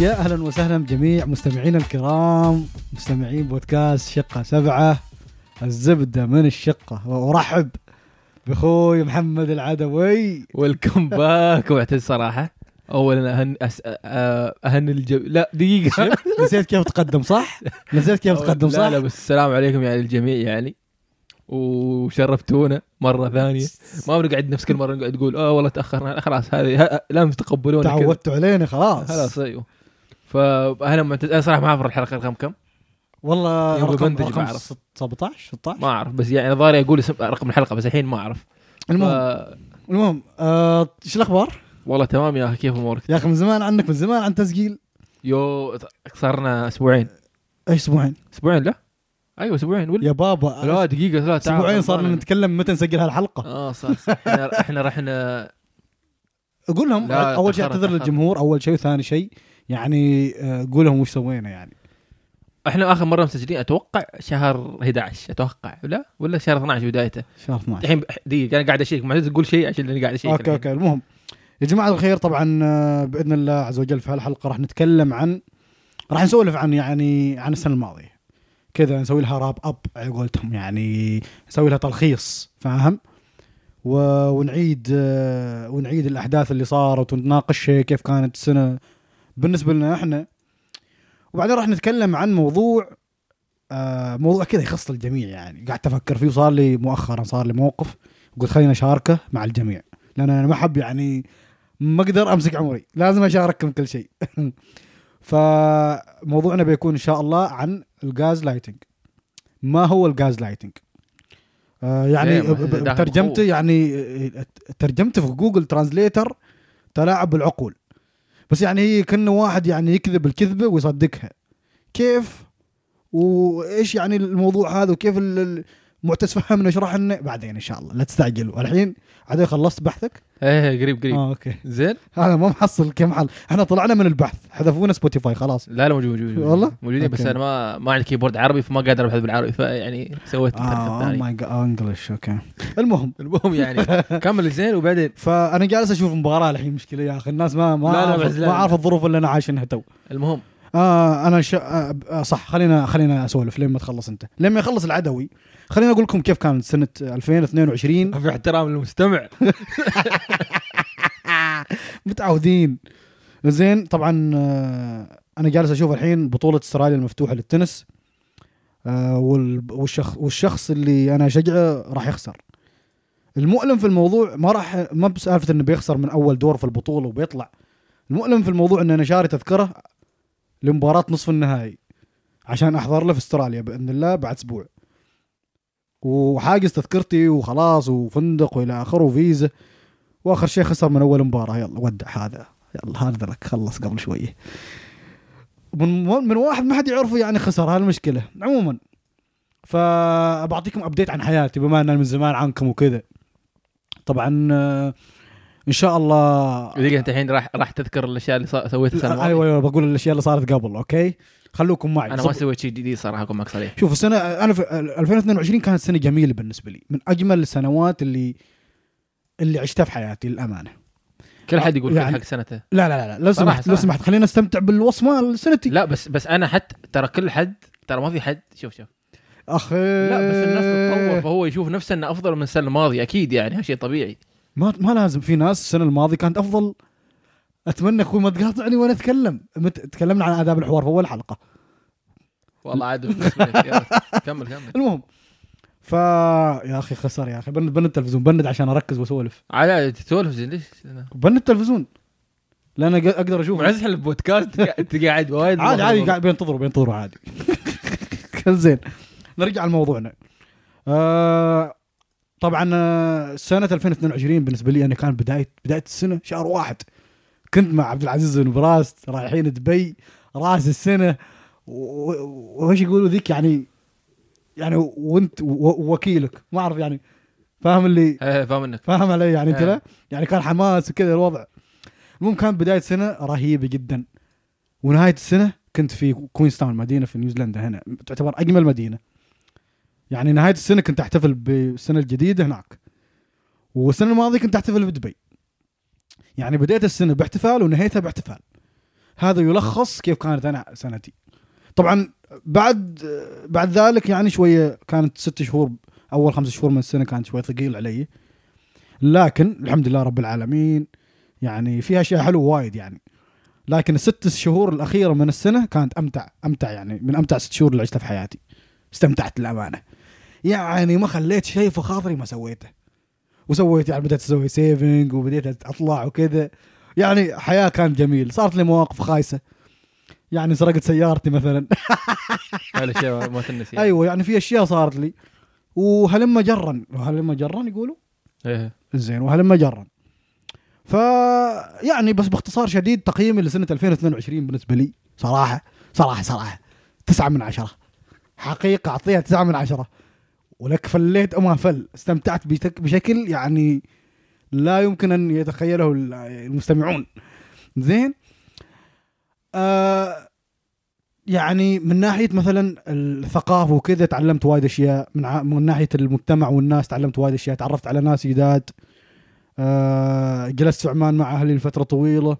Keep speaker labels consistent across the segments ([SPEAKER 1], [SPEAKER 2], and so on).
[SPEAKER 1] يا اهلا وسهلا بجميع مستمعينا الكرام مستمعين بودكاست شقه سبعه الزبده من الشقه وارحب باخوي محمد العدوي
[SPEAKER 2] ويلكم باك واعتذر صراحه اولا اهن أس... أه- اهن الجم... لا دقيقه
[SPEAKER 1] نسيت كيف تقدم صح؟ نسيت كيف تقدم صح؟
[SPEAKER 2] لا لا بس السلام عليكم يعني الجميع يعني وشرفتونا مره ثانيه ما بنقعد نفس كل مره نقعد نقول اه والله تاخرنا خلاص هذه ه- لازم تقبلونا كذا.
[SPEAKER 1] تعودتوا علينا خلاص
[SPEAKER 2] خلاص ايوه فاهلا معتز انا صراحه ما اعرف الحلقه رقم كم
[SPEAKER 1] والله
[SPEAKER 2] يوم
[SPEAKER 1] رقم
[SPEAKER 2] ببندج
[SPEAKER 1] رقم
[SPEAKER 2] بعرف.
[SPEAKER 1] 17
[SPEAKER 2] ما
[SPEAKER 1] 16
[SPEAKER 2] اعرف بس يعني ضاري اقول اسم رقم الحلقه بس الحين ما اعرف ف...
[SPEAKER 1] المهم المهم آه، ايش الاخبار؟
[SPEAKER 2] والله تمام يا اخي كيف امورك؟
[SPEAKER 1] يا اخي من زمان عنك من زمان عن تسجيل
[SPEAKER 2] يو صارنا اسبوعين
[SPEAKER 1] اي اسبوعين
[SPEAKER 2] اسبوعين لا ايوه اسبوعين ولا
[SPEAKER 1] يا بابا
[SPEAKER 2] لا دقيقه لا تعال
[SPEAKER 1] اسبوعين صارنا
[SPEAKER 2] غلطان.
[SPEAKER 1] نتكلم متى نسجل هالحلقه
[SPEAKER 2] اه صح صح. احنا احنا رحنا
[SPEAKER 1] قول لهم
[SPEAKER 2] لا،
[SPEAKER 1] اول شيء
[SPEAKER 2] تأخرت،
[SPEAKER 1] اعتذر
[SPEAKER 2] تأخرت.
[SPEAKER 1] للجمهور اول شيء ثاني شيء يعني آه، قول لهم وش سوينا يعني
[SPEAKER 2] احنا اخر مره مسجلين اتوقع شهر 11 اتوقع لا ولا شهر 12 بدايته
[SPEAKER 1] شهر 12
[SPEAKER 2] الحين دقيقه انا قاعد اشيك ما تقول شيء عشان اللي قاعد اشيك
[SPEAKER 1] اوكي
[SPEAKER 2] الحين.
[SPEAKER 1] اوكي المهم يا جماعه الخير طبعا آه، باذن الله عز وجل في هالحلقه راح نتكلم عن راح نسولف عن يعني عن السنه الماضيه كذا نسوي لها راب اب على قولتهم يعني نسوي لها تلخيص فاهم و... ونعيد آه، ونعيد الاحداث اللي صارت ونناقش كيف كانت السنه بالنسبه لنا احنا وبعدين راح نتكلم عن موضوع آه، موضوع كذا يخص الجميع يعني قاعد افكر فيه وصار لي مؤخرا صار لي موقف قلت خليني اشاركه مع الجميع لان انا ما احب يعني ما اقدر امسك عمري لازم اشارككم كل شيء فموضوعنا بيكون ان شاء الله عن الغاز لايتنج ما هو الغاز لايتنج آه يعني
[SPEAKER 2] ليه؟ ما-
[SPEAKER 1] ب- ب-
[SPEAKER 2] داخل
[SPEAKER 1] ترجمته
[SPEAKER 2] مخوف.
[SPEAKER 1] يعني آه، ترجمته في جوجل ترانزليتر تلاعب بالعقول بس يعني هي كأنه واحد يعني يكذب الكذبه ويصدقها كيف وايش يعني الموضوع هذا وكيف ال- ال- معتز فهمنا اشرح لنا بعدين ان شاء الله لا تستعجلوا الحين عاد خلصت بحثك
[SPEAKER 2] ايه إيه، قريب قريب
[SPEAKER 1] اه اوكي
[SPEAKER 2] زين
[SPEAKER 1] انا ما محصل كم حل احنا طلعنا من البحث حذفونا سبوتيفاي خلاص
[SPEAKER 2] لا لا موجود موجود موجود.
[SPEAKER 1] والله؟
[SPEAKER 2] موجودين بس
[SPEAKER 1] أوكي.
[SPEAKER 2] انا ما ما عندي كيبورد عربي فما قادر ابحث بالعربي فيعني سويت الحركه
[SPEAKER 1] اه
[SPEAKER 2] الثانيه
[SPEAKER 1] ماي جاد انجلش اوكي المهم
[SPEAKER 2] المهم يعني كمل زين وبعدين
[SPEAKER 1] فانا جالس اشوف مباراه الحين مشكله يا اخي الناس ما ما
[SPEAKER 2] لا، لا،
[SPEAKER 1] عارف-
[SPEAKER 2] بعزلان.
[SPEAKER 1] ما عارف الظروف اللي انا عايشينها تو
[SPEAKER 2] المهم
[SPEAKER 1] آه انا ش... آه آه، صح خلينا خلينا اسولف لين ما تخلص انت لما يخلص العدوي خلينا اقول لكم كيف كانت سنه 2022
[SPEAKER 2] في احترام للمستمع
[SPEAKER 1] متعودين زين طبعا آه، انا جالس اشوف الحين بطوله استراليا المفتوحه للتنس آه، وال- والشخ والشخص اللي انا شجعه راح يخسر المؤلم في الموضوع ما راح ما بسالفه انه بيخسر من اول دور في البطوله وبيطلع المؤلم في الموضوع ان انا شاري تذكره لمباراه نصف النهائي عشان احضر له في استراليا باذن الله بعد اسبوع وحاجز تذكرتي وخلاص وفندق والى اخره وفيزا واخر شيء خسر من اول مباراه يلا ودع هذا يلا هذا لك خلص قبل شويه من من واحد ما حد يعرفه يعني خسر هالمشكله عموما فبعطيكم ابديت عن حياتي بما ان أنا من زمان عنكم وكذا طبعا آه، ان شاء الله
[SPEAKER 2] دقيقه انت الحين راح راح تذكر الاشياء اللي صا- سويتها السنه
[SPEAKER 1] ايوه
[SPEAKER 2] الماضية.
[SPEAKER 1] ايوه بقول الاشياء اللي صارت قبل اوكي خلوكم معي
[SPEAKER 2] انا ما
[SPEAKER 1] صب-
[SPEAKER 2] سويت شيء جديد صراحه اكون معك صريح
[SPEAKER 1] شوف السنه انا في 2022 كانت سنه جميله بالنسبه لي من اجمل السنوات اللي اللي عشتها في حياتي للامانه
[SPEAKER 2] كل حد يقول كل
[SPEAKER 1] يعني-
[SPEAKER 2] حق سنته
[SPEAKER 1] لا لا لا لا لو
[SPEAKER 2] صراحة-
[SPEAKER 1] سمحت لو
[SPEAKER 2] صراحة.
[SPEAKER 1] سمحت خلينا نستمتع بالوصف مال سنتي
[SPEAKER 2] لا بس بس انا حتى ترى كل حد ترى ما في حد شوف شوف
[SPEAKER 1] اخي
[SPEAKER 2] لا بس الناس تتطور فهو يشوف نفسه انه افضل من السنه الماضيه اكيد يعني هالشيء طبيعي
[SPEAKER 1] ما ما لازم في ناس السنه الماضيه كانت افضل اتمنى اخوي ما تقاطعني وانا اتكلم مت... تكلمنا عن اداب الحوار في اول حلقه
[SPEAKER 2] والله عاد بالنسبة لك. يلا، كمل كمل
[SPEAKER 1] المهم فا يا اخي خسر يا اخي بند بند التلفزيون بند عشان اركز واسولف
[SPEAKER 2] على تسولف زين ليش؟
[SPEAKER 1] بند التلفزيون لان أق- اقدر اشوف
[SPEAKER 2] معزح البودكاست انت قاعد وايد
[SPEAKER 1] عادي عادي قاعد بينتظروا بينتظروا عادي زين نرجع لموضوعنا آه طبعا آه، سنة 2022 بالنسبة لي أنا كان بداية بداية السنة شهر واحد كنت مع عبد العزيز بن براس رايحين دبي راس السنة و- و- وش يقولوا ذيك يعني يعني وانت و- وكيلك ما اعرف يعني فاهم اللي
[SPEAKER 2] إيه، فاهم انك
[SPEAKER 1] فاهم علي يعني انت
[SPEAKER 2] إيه.
[SPEAKER 1] لا؟ يعني كان حماس وكذا الوضع المهم كانت بدايه سنه رهيبه جدا ونهايه السنه كنت في كوينز تاون مدينه في نيوزيلندا هنا تعتبر اجمل مدينه يعني نهايه السنه كنت احتفل بالسنه الجديده هناك والسنه الماضيه كنت احتفل بدبي يعني بديت السنه باحتفال ونهيتها باحتفال هذا يلخص كيف كانت انا سنتي طبعا بعد بعد ذلك يعني شويه كانت ست شهور اول خمس شهور من السنه كانت شويه ثقيل علي لكن الحمد لله رب العالمين يعني فيها اشياء حلوه وايد يعني لكن الست شهور الاخيره من السنه كانت امتع امتع يعني من امتع ست شهور اللي عشتها في حياتي استمتعت للامانه يعني ما خليت شيء في خاطري ما سويته وسويت يعني بدأت أسوي سيفنج وبديت أطلع وكذا يعني حياة كانت جميل صارت لي مواقف خايسة يعني سرقت سيارتي مثلا
[SPEAKER 2] هذا الشيء ما تنسي
[SPEAKER 1] أيوة يعني في أشياء صارت لي وهلم جرا وهلم جرا يقولوا
[SPEAKER 2] ايوه
[SPEAKER 1] زين وهلم جرا ف يعني بس باختصار شديد تقييمي لسنة 2022 بالنسبة لي صراحة صراحة صراحة تسعة من عشرة حقيقة أعطيها تسعة من عشرة ولك فليت أما فل استمتعت بتك- بشكل يعني لا يمكن أن يتخيله ال- المستمعون زين آه يعني من ناحية مثلا الثقافة وكذا تعلمت وايد أشياء من, ع... من ناحية المجتمع والناس تعلمت وايد أشياء تعرفت على ناس جداد آه جلست في عمان مع أهلي لفترة طويلة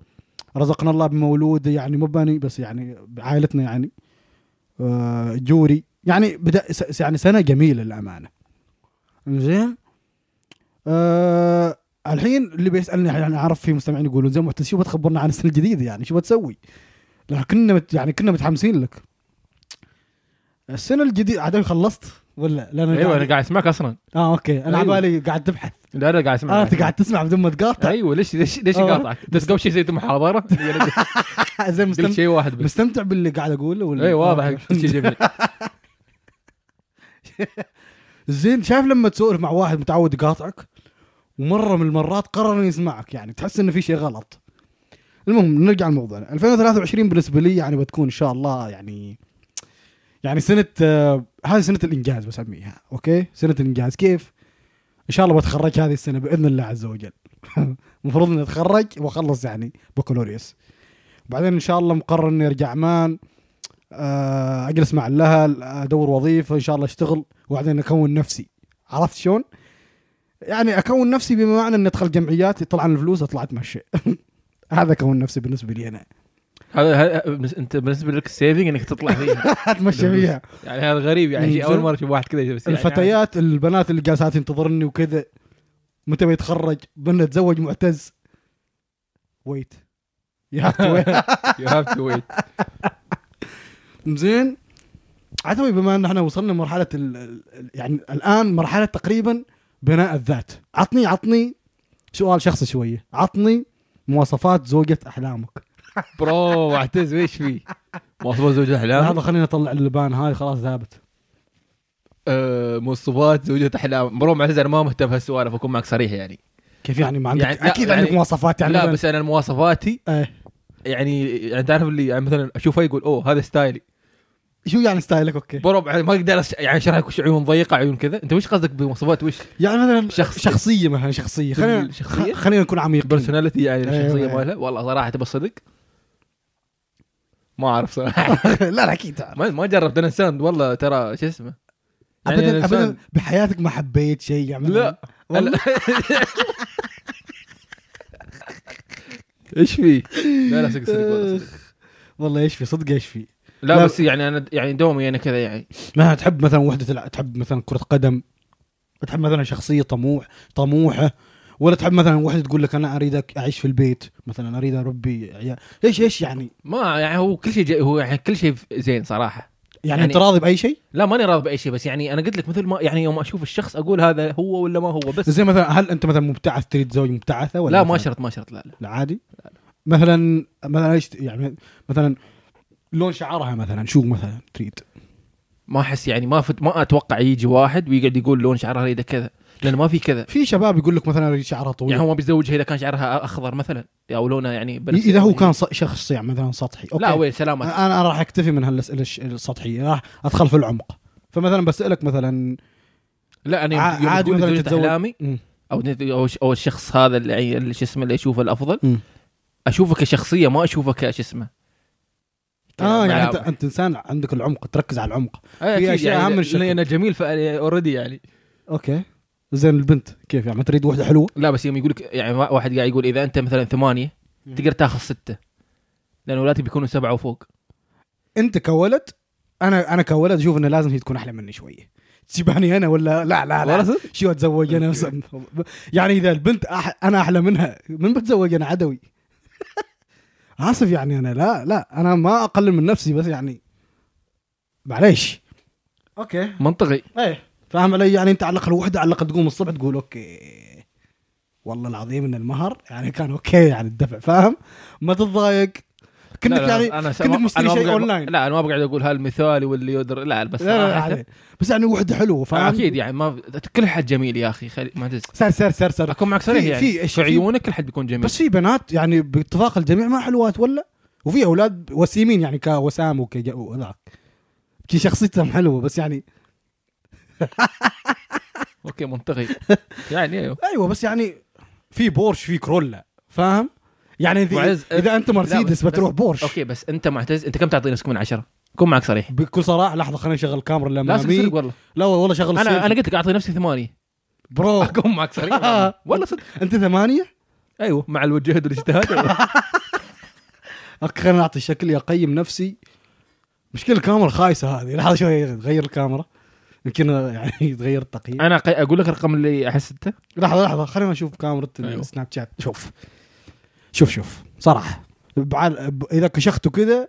[SPEAKER 1] رزقنا الله بمولود يعني مو باني بس يعني بعائلتنا يعني آه، جوري يعني بدا س- يعني سنه جميله للامانه زين آه الحين اللي بيسالني يعني اعرف في مستمعين يقولون زين محتس شو بتخبرنا عن السنه الجديده يعني شو بتسوي؟ لأن كنا مت يعني كنا متحمسين لك السنه الجديده عاد خلصت ولا لا انا
[SPEAKER 2] ايوه انا
[SPEAKER 1] قاعد...
[SPEAKER 2] قاعد اسمعك اصلا
[SPEAKER 1] اه اوكي انا على
[SPEAKER 2] أيوة.
[SPEAKER 1] بالي قاعد تبحث
[SPEAKER 2] لا لا قاعد اسمعك
[SPEAKER 1] اه انت قاعد تسمع بدون ما تقاطع
[SPEAKER 2] ايوه ليش ليش ليش
[SPEAKER 1] آه.
[SPEAKER 2] قاطعك؟ بس قبل شيء سويت محاضره
[SPEAKER 1] زين
[SPEAKER 2] قلت
[SPEAKER 1] مستمتع
[SPEAKER 2] شيء واحد بس
[SPEAKER 1] مستمتع باللي قاعد اقوله ولا
[SPEAKER 2] اي واضح
[SPEAKER 1] آه،
[SPEAKER 2] قلت شيء جميل
[SPEAKER 1] زين شايف لما تسولف مع واحد متعود يقاطعك ومره من المرات قرر انه يسمعك يعني تحس انه في شيء غلط المهم نرجع لموضوعنا 2023 بالنسبه لي يعني بتكون ان شاء الله يعني يعني سنه آه، هذه سنه الانجاز بسميها اوكي سنه الانجاز كيف ان شاء الله بتخرج هذه السنه باذن الله عز وجل المفروض اني اتخرج واخلص يعني بكالوريوس بعدين ان شاء الله مقرر اني ارجع عمان آه، اجلس مع الاهل ادور وظيفه ان شاء الله اشتغل وبعدين اكون نفسي عرفت شلون؟ يعني اكون نفسي بما معنى اني ادخل جمعيات طلعن الفلوس اطلع اتمشى هذا اكون نفسي بالنسبه لي انا
[SPEAKER 2] هذا هذا- بالنس- انت بالنسبه لك السيفنج انك تطلع فيها
[SPEAKER 1] اتمشى فيها
[SPEAKER 2] يعني هذا غريب يعني شيء اول مره اشوف واحد كذا بس يعني
[SPEAKER 1] الفتيات البنات اللي جالسات تنتظرني وكذا متى بيتخرج بدنا نتزوج معتز ويت يا ويت
[SPEAKER 2] يو هاف تو ويت
[SPEAKER 1] زين عتوي بما ان احنا وصلنا مرحله ال ال- يعني الان مرحله تقريبا بناء الذات عطني عطني سؤال شخصي شويه عطني مواصفات زوجة احلامك
[SPEAKER 2] برو معتز ايش فيه؟ مواصفات زوجة
[SPEAKER 1] لحظه
[SPEAKER 2] احلام
[SPEAKER 1] خليني اطلع اللبان هاي خلاص ذابت
[SPEAKER 2] آه، مواصفات زوجة احلام برو معتز انا ما مهتم بهالسوالف اكون معك صريح يعني
[SPEAKER 1] كيف يعني ما عندك
[SPEAKER 2] يعني- لا،
[SPEAKER 1] اكيد
[SPEAKER 2] يعني-
[SPEAKER 1] عندك مواصفات يعني
[SPEAKER 2] لا
[SPEAKER 1] مثلاً-
[SPEAKER 2] بس انا مواصفاتي
[SPEAKER 1] إيه.
[SPEAKER 2] يعني يعني تعرف اللي يعني مثلا اشوفه يقول اوه هذا ستايلي
[SPEAKER 1] شو يعني ستايلك اوكي
[SPEAKER 2] برو بعد ما اقدر أش- يعني اشرح لك وش عيون ضيقه عيون كذا انت وش قصدك بمواصفات وش
[SPEAKER 1] يعني مثلا
[SPEAKER 2] شخص-
[SPEAKER 1] شخصيه مثلا شخصيه خلينا
[SPEAKER 2] شخصية؟
[SPEAKER 1] خ- خلينا نكون عميقين
[SPEAKER 2] بيرسوناليتي يعني
[SPEAKER 1] أيوة،
[SPEAKER 2] الشخصيه
[SPEAKER 1] أيوة.
[SPEAKER 2] مالها والله صراحه تبى الصدق ما اعرف صراحه
[SPEAKER 1] لا لا اكيد
[SPEAKER 2] ما, ما جربت انا انسان والله ترى شو اسمه يعني
[SPEAKER 1] ابدا
[SPEAKER 2] الإنسان-
[SPEAKER 1] ابدا بحياتك ما حبيت شيء يعني مثلاً.
[SPEAKER 2] لا
[SPEAKER 1] والله
[SPEAKER 2] ايش في؟ لا لا صدق صدق والله صدق.
[SPEAKER 1] والله يشفي صدق يشفي
[SPEAKER 2] لا
[SPEAKER 1] لا.
[SPEAKER 2] بس يعني انا يعني دومي انا كذا يعني
[SPEAKER 1] ما تحب مثلا وحده تلعب تحب مثلا كره قدم تحب مثلا شخصيه طموح طموحه ولا تحب مثلا وحده تقول لك انا اريدك اعيش في البيت مثلا اريد اربي عيال ايش ايش يعني
[SPEAKER 2] ما يعني هو كل شيء جاي- هو يعني كل شيء زين صراحه
[SPEAKER 1] يعني,
[SPEAKER 2] يعني-
[SPEAKER 1] انت راضي باي شيء
[SPEAKER 2] لا ماني راضي باي شيء بس يعني انا قلت لك مثل ما يعني يوم اشوف الشخص اقول هذا هو ولا ما هو بس
[SPEAKER 1] زي مثلا هل انت مثلا مبتعث تريد زوج مبتعثه ولا
[SPEAKER 2] لا
[SPEAKER 1] مثلاً-
[SPEAKER 2] ما شرط ما شرط لا لا
[SPEAKER 1] لا عادي مثلا مثلا ايش يعني مثلا لون شعرها مثلا شو مثلا تريد
[SPEAKER 2] ما احس يعني ما فت ما اتوقع يجي واحد ويقعد يقول لون شعرها اذا كذا لان ما في كذا
[SPEAKER 1] في شباب يقول لك مثلا اريد شعرها طويل
[SPEAKER 2] يعني هو ما بيتزوجها اذا كان شعرها اخضر مثلا او لونه يعني بنفسجي.
[SPEAKER 1] اذا هو كان ص- شخص يعني مثلا سطحي اوكي
[SPEAKER 2] لا وين سلامتك
[SPEAKER 1] انا أنا راح اكتفي من هالاسئله الش- السطحيه راح ادخل في العمق فمثلا بسالك مثلا
[SPEAKER 2] لا انا
[SPEAKER 1] ع-
[SPEAKER 2] يوم- يوم
[SPEAKER 1] عادي
[SPEAKER 2] تقول
[SPEAKER 1] مثلاً
[SPEAKER 2] زوجة
[SPEAKER 1] تتزوج-
[SPEAKER 2] احلامي
[SPEAKER 1] مم.
[SPEAKER 2] او او او الشخص هذا اللي يعني اللي شو اسمه اللي اشوفه الافضل
[SPEAKER 1] مم.
[SPEAKER 2] اشوفه كشخصيه ما اشوفه كش اسمه
[SPEAKER 1] اه يعني انت
[SPEAKER 2] ملعب.
[SPEAKER 1] انت انسان عندك العمق تركز على العمق
[SPEAKER 2] أي
[SPEAKER 1] في
[SPEAKER 2] أكيد
[SPEAKER 1] أشياء
[SPEAKER 2] يعني
[SPEAKER 1] أهم من
[SPEAKER 2] لأن-
[SPEAKER 1] الشكل.
[SPEAKER 2] لانه جميل اوريدي يعني
[SPEAKER 1] اوكي زين البنت كيف يعني تريد واحده حلوه
[SPEAKER 2] لا بس يوم يقول لك يعني وا- واحد قاعد يقول اذا انت مثلا ثمانيه
[SPEAKER 1] مم.
[SPEAKER 2] تقدر تاخذ سته لان ولادي بيكونوا سبعه وفوق
[SPEAKER 1] انت كولد انا انا كولد اشوف انه لازم هي تكون احلى مني شويه تجيباني انا ولا لا لا
[SPEAKER 2] والله
[SPEAKER 1] لا
[SPEAKER 2] صدق؟
[SPEAKER 1] شو اتزوج انا يعني اذا البنت أح انا احلى منها من بتزوج انا عدوي اسف يعني انا لا لا انا ما اقلل من نفسي بس يعني معليش اوكي
[SPEAKER 2] منطقي
[SPEAKER 1] ايه فاهم علي يعني انت على الاقل وحده على الاقل تقوم الصبح تقول اوكي والله العظيم ان المهر يعني كان اوكي يعني الدفع فاهم ما تتضايق كانك
[SPEAKER 2] لا، لا،
[SPEAKER 1] يعني
[SPEAKER 2] أنا س-
[SPEAKER 1] كأنك
[SPEAKER 2] ما-
[SPEAKER 1] مشتري
[SPEAKER 2] أنا ما
[SPEAKER 1] شيء
[SPEAKER 2] بقعد-
[SPEAKER 1] أونلاين.
[SPEAKER 2] لا انا ما بقعد اقول هالمثالي واللي يدر لا بس
[SPEAKER 1] لا لا لا
[SPEAKER 2] صراحة-
[SPEAKER 1] عادي. بس يعني وحده حلوه
[SPEAKER 2] آه،
[SPEAKER 1] فاهم
[SPEAKER 2] اكيد يعني ما كل حد جميل يا اخي خلي ما تز
[SPEAKER 1] سر سر سر سر
[SPEAKER 2] اكون معك صريح
[SPEAKER 1] في-
[SPEAKER 2] يعني
[SPEAKER 1] في
[SPEAKER 2] في,
[SPEAKER 1] إيش-
[SPEAKER 2] في
[SPEAKER 1] في-
[SPEAKER 2] عيونك كل حد بيكون جميل
[SPEAKER 1] بس في بنات يعني باتفاق الجميع ما حلوات ولا وفي اولاد وسيمين يعني كوسام وكذاك كي شخصيتهم حلوه بس يعني
[SPEAKER 2] اوكي منطقي يعني ايوه
[SPEAKER 1] ايوه بس يعني في بورش في كرولا فاهم يعني اذا,
[SPEAKER 2] معز-
[SPEAKER 1] إذا انت مرسيدس
[SPEAKER 2] بس-
[SPEAKER 1] بتروح بورش
[SPEAKER 2] اوكي بس انت معتز انت كم تعطي نفسك من عشره؟ كون معك صريح
[SPEAKER 1] بكل صراحه لحظه خلينا نشغل الكاميرا
[SPEAKER 2] لا
[SPEAKER 1] الاماميه
[SPEAKER 2] صدق والله
[SPEAKER 1] لا والله شغل
[SPEAKER 2] انا
[SPEAKER 1] السيلفي.
[SPEAKER 2] انا قلت لك اعطي نفسي آه. ثمانيه
[SPEAKER 1] برو
[SPEAKER 2] اكون معك صريح والله. والله صدق
[SPEAKER 1] انت ثمانيه
[SPEAKER 2] ايوه مع الجهد والاجتهاد
[SPEAKER 1] اوكي خلينا نعطي شكلي اقيم نفسي مشكله الكاميرا خايسه هذه لحظه شوي غير الكاميرا يمكن يعني يتغير التقييم
[SPEAKER 2] انا قي- اقول لك الرقم اللي احس انت
[SPEAKER 1] لحظه لحظه خلينا نشوف كاميرا
[SPEAKER 2] أيوة.
[SPEAKER 1] السناب شات شوف شوف شوف صراحه بعال ب- اذا كشخته كذا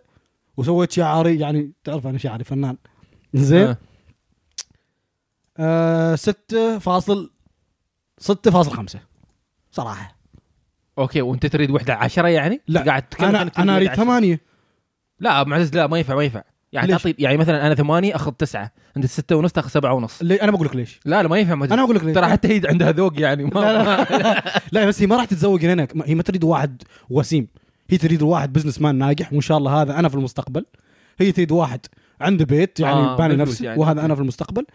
[SPEAKER 1] وسويت شعري يعني تعرف انا شعري فنان زين
[SPEAKER 2] آه.
[SPEAKER 1] آه ستة فاصل ستة فاصل خمسة صراحة
[SPEAKER 2] اوكي وانت تريد وحده عشرة يعني؟
[SPEAKER 1] لا،
[SPEAKER 2] قاعد تتكلم
[SPEAKER 1] أنا
[SPEAKER 2] عن كل
[SPEAKER 1] أنا
[SPEAKER 2] وحدة
[SPEAKER 1] أريد
[SPEAKER 2] عشرة.
[SPEAKER 1] ثمانية
[SPEAKER 2] لا معزز لا ما ينفع ما ينفع يعني
[SPEAKER 1] ليش؟
[SPEAKER 2] تعطي يعني مثلا انا ثمانيه اخذ تسعه انت سته ونص تاخذ سبعه ونص
[SPEAKER 1] ليه- أنا بقول لك ليش
[SPEAKER 2] لا لا ما ينفع معزز
[SPEAKER 1] أنا بقول لك ليش
[SPEAKER 2] ترى حتى هي عندها ذوق يعني ما
[SPEAKER 1] لا لا, لا بس هي ما راح تتزوج هناك ما- هي ما تريد واحد وسيم هي تريد واحد بزنس مان ناجح وان شاء الله هذا انا في المستقبل هي تريد واحد عنده بيت يعني
[SPEAKER 2] آه،
[SPEAKER 1] آه باني
[SPEAKER 2] مفلوس
[SPEAKER 1] نفسه يعني
[SPEAKER 2] يعني.
[SPEAKER 1] وهذا انا في المستقبل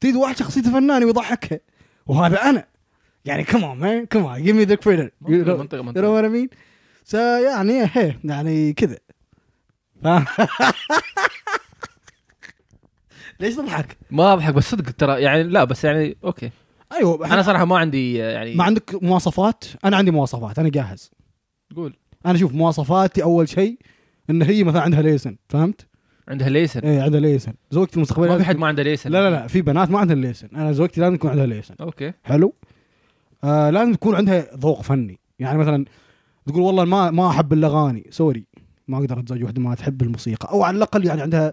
[SPEAKER 1] تريد واحد شخصيته فنانه ويضحكها وهذا انا يعني كمان مان كمان جيف مي ذا كريدت يو
[SPEAKER 2] منطقة-
[SPEAKER 1] نو
[SPEAKER 2] منطقه منطقه
[SPEAKER 1] وات مين يعني هي يعني كذا فاهم؟ ليش تضحك؟
[SPEAKER 2] ما اضحك بس صدق ترى يعني لا بس يعني اوكي
[SPEAKER 1] ايوه
[SPEAKER 2] انا صراحه ما عندي آه، يعني
[SPEAKER 1] ما عندك مواصفات؟ انا عندي مواصفات انا جاهز
[SPEAKER 2] قول
[SPEAKER 1] انا اشوف مواصفاتي اول شيء ان هي مثلا عندها ليسن فهمت؟
[SPEAKER 2] عندها ليسن
[SPEAKER 1] ايه عندها ليسن زوجتي المستقبليه
[SPEAKER 2] ما في حد
[SPEAKER 1] لازم-
[SPEAKER 2] ما عنده ليسن
[SPEAKER 1] لا لا لا في بنات ما عندها ليسن انا زوجتي لازم يكون عندها ليسن
[SPEAKER 2] اوكي
[SPEAKER 1] حلو آه لازم تكون عندها ذوق فني يعني مثلا تقول والله ما ما احب الاغاني سوري ما اقدر اتزوج واحده ما تحب الموسيقى او على الاقل يعني عندها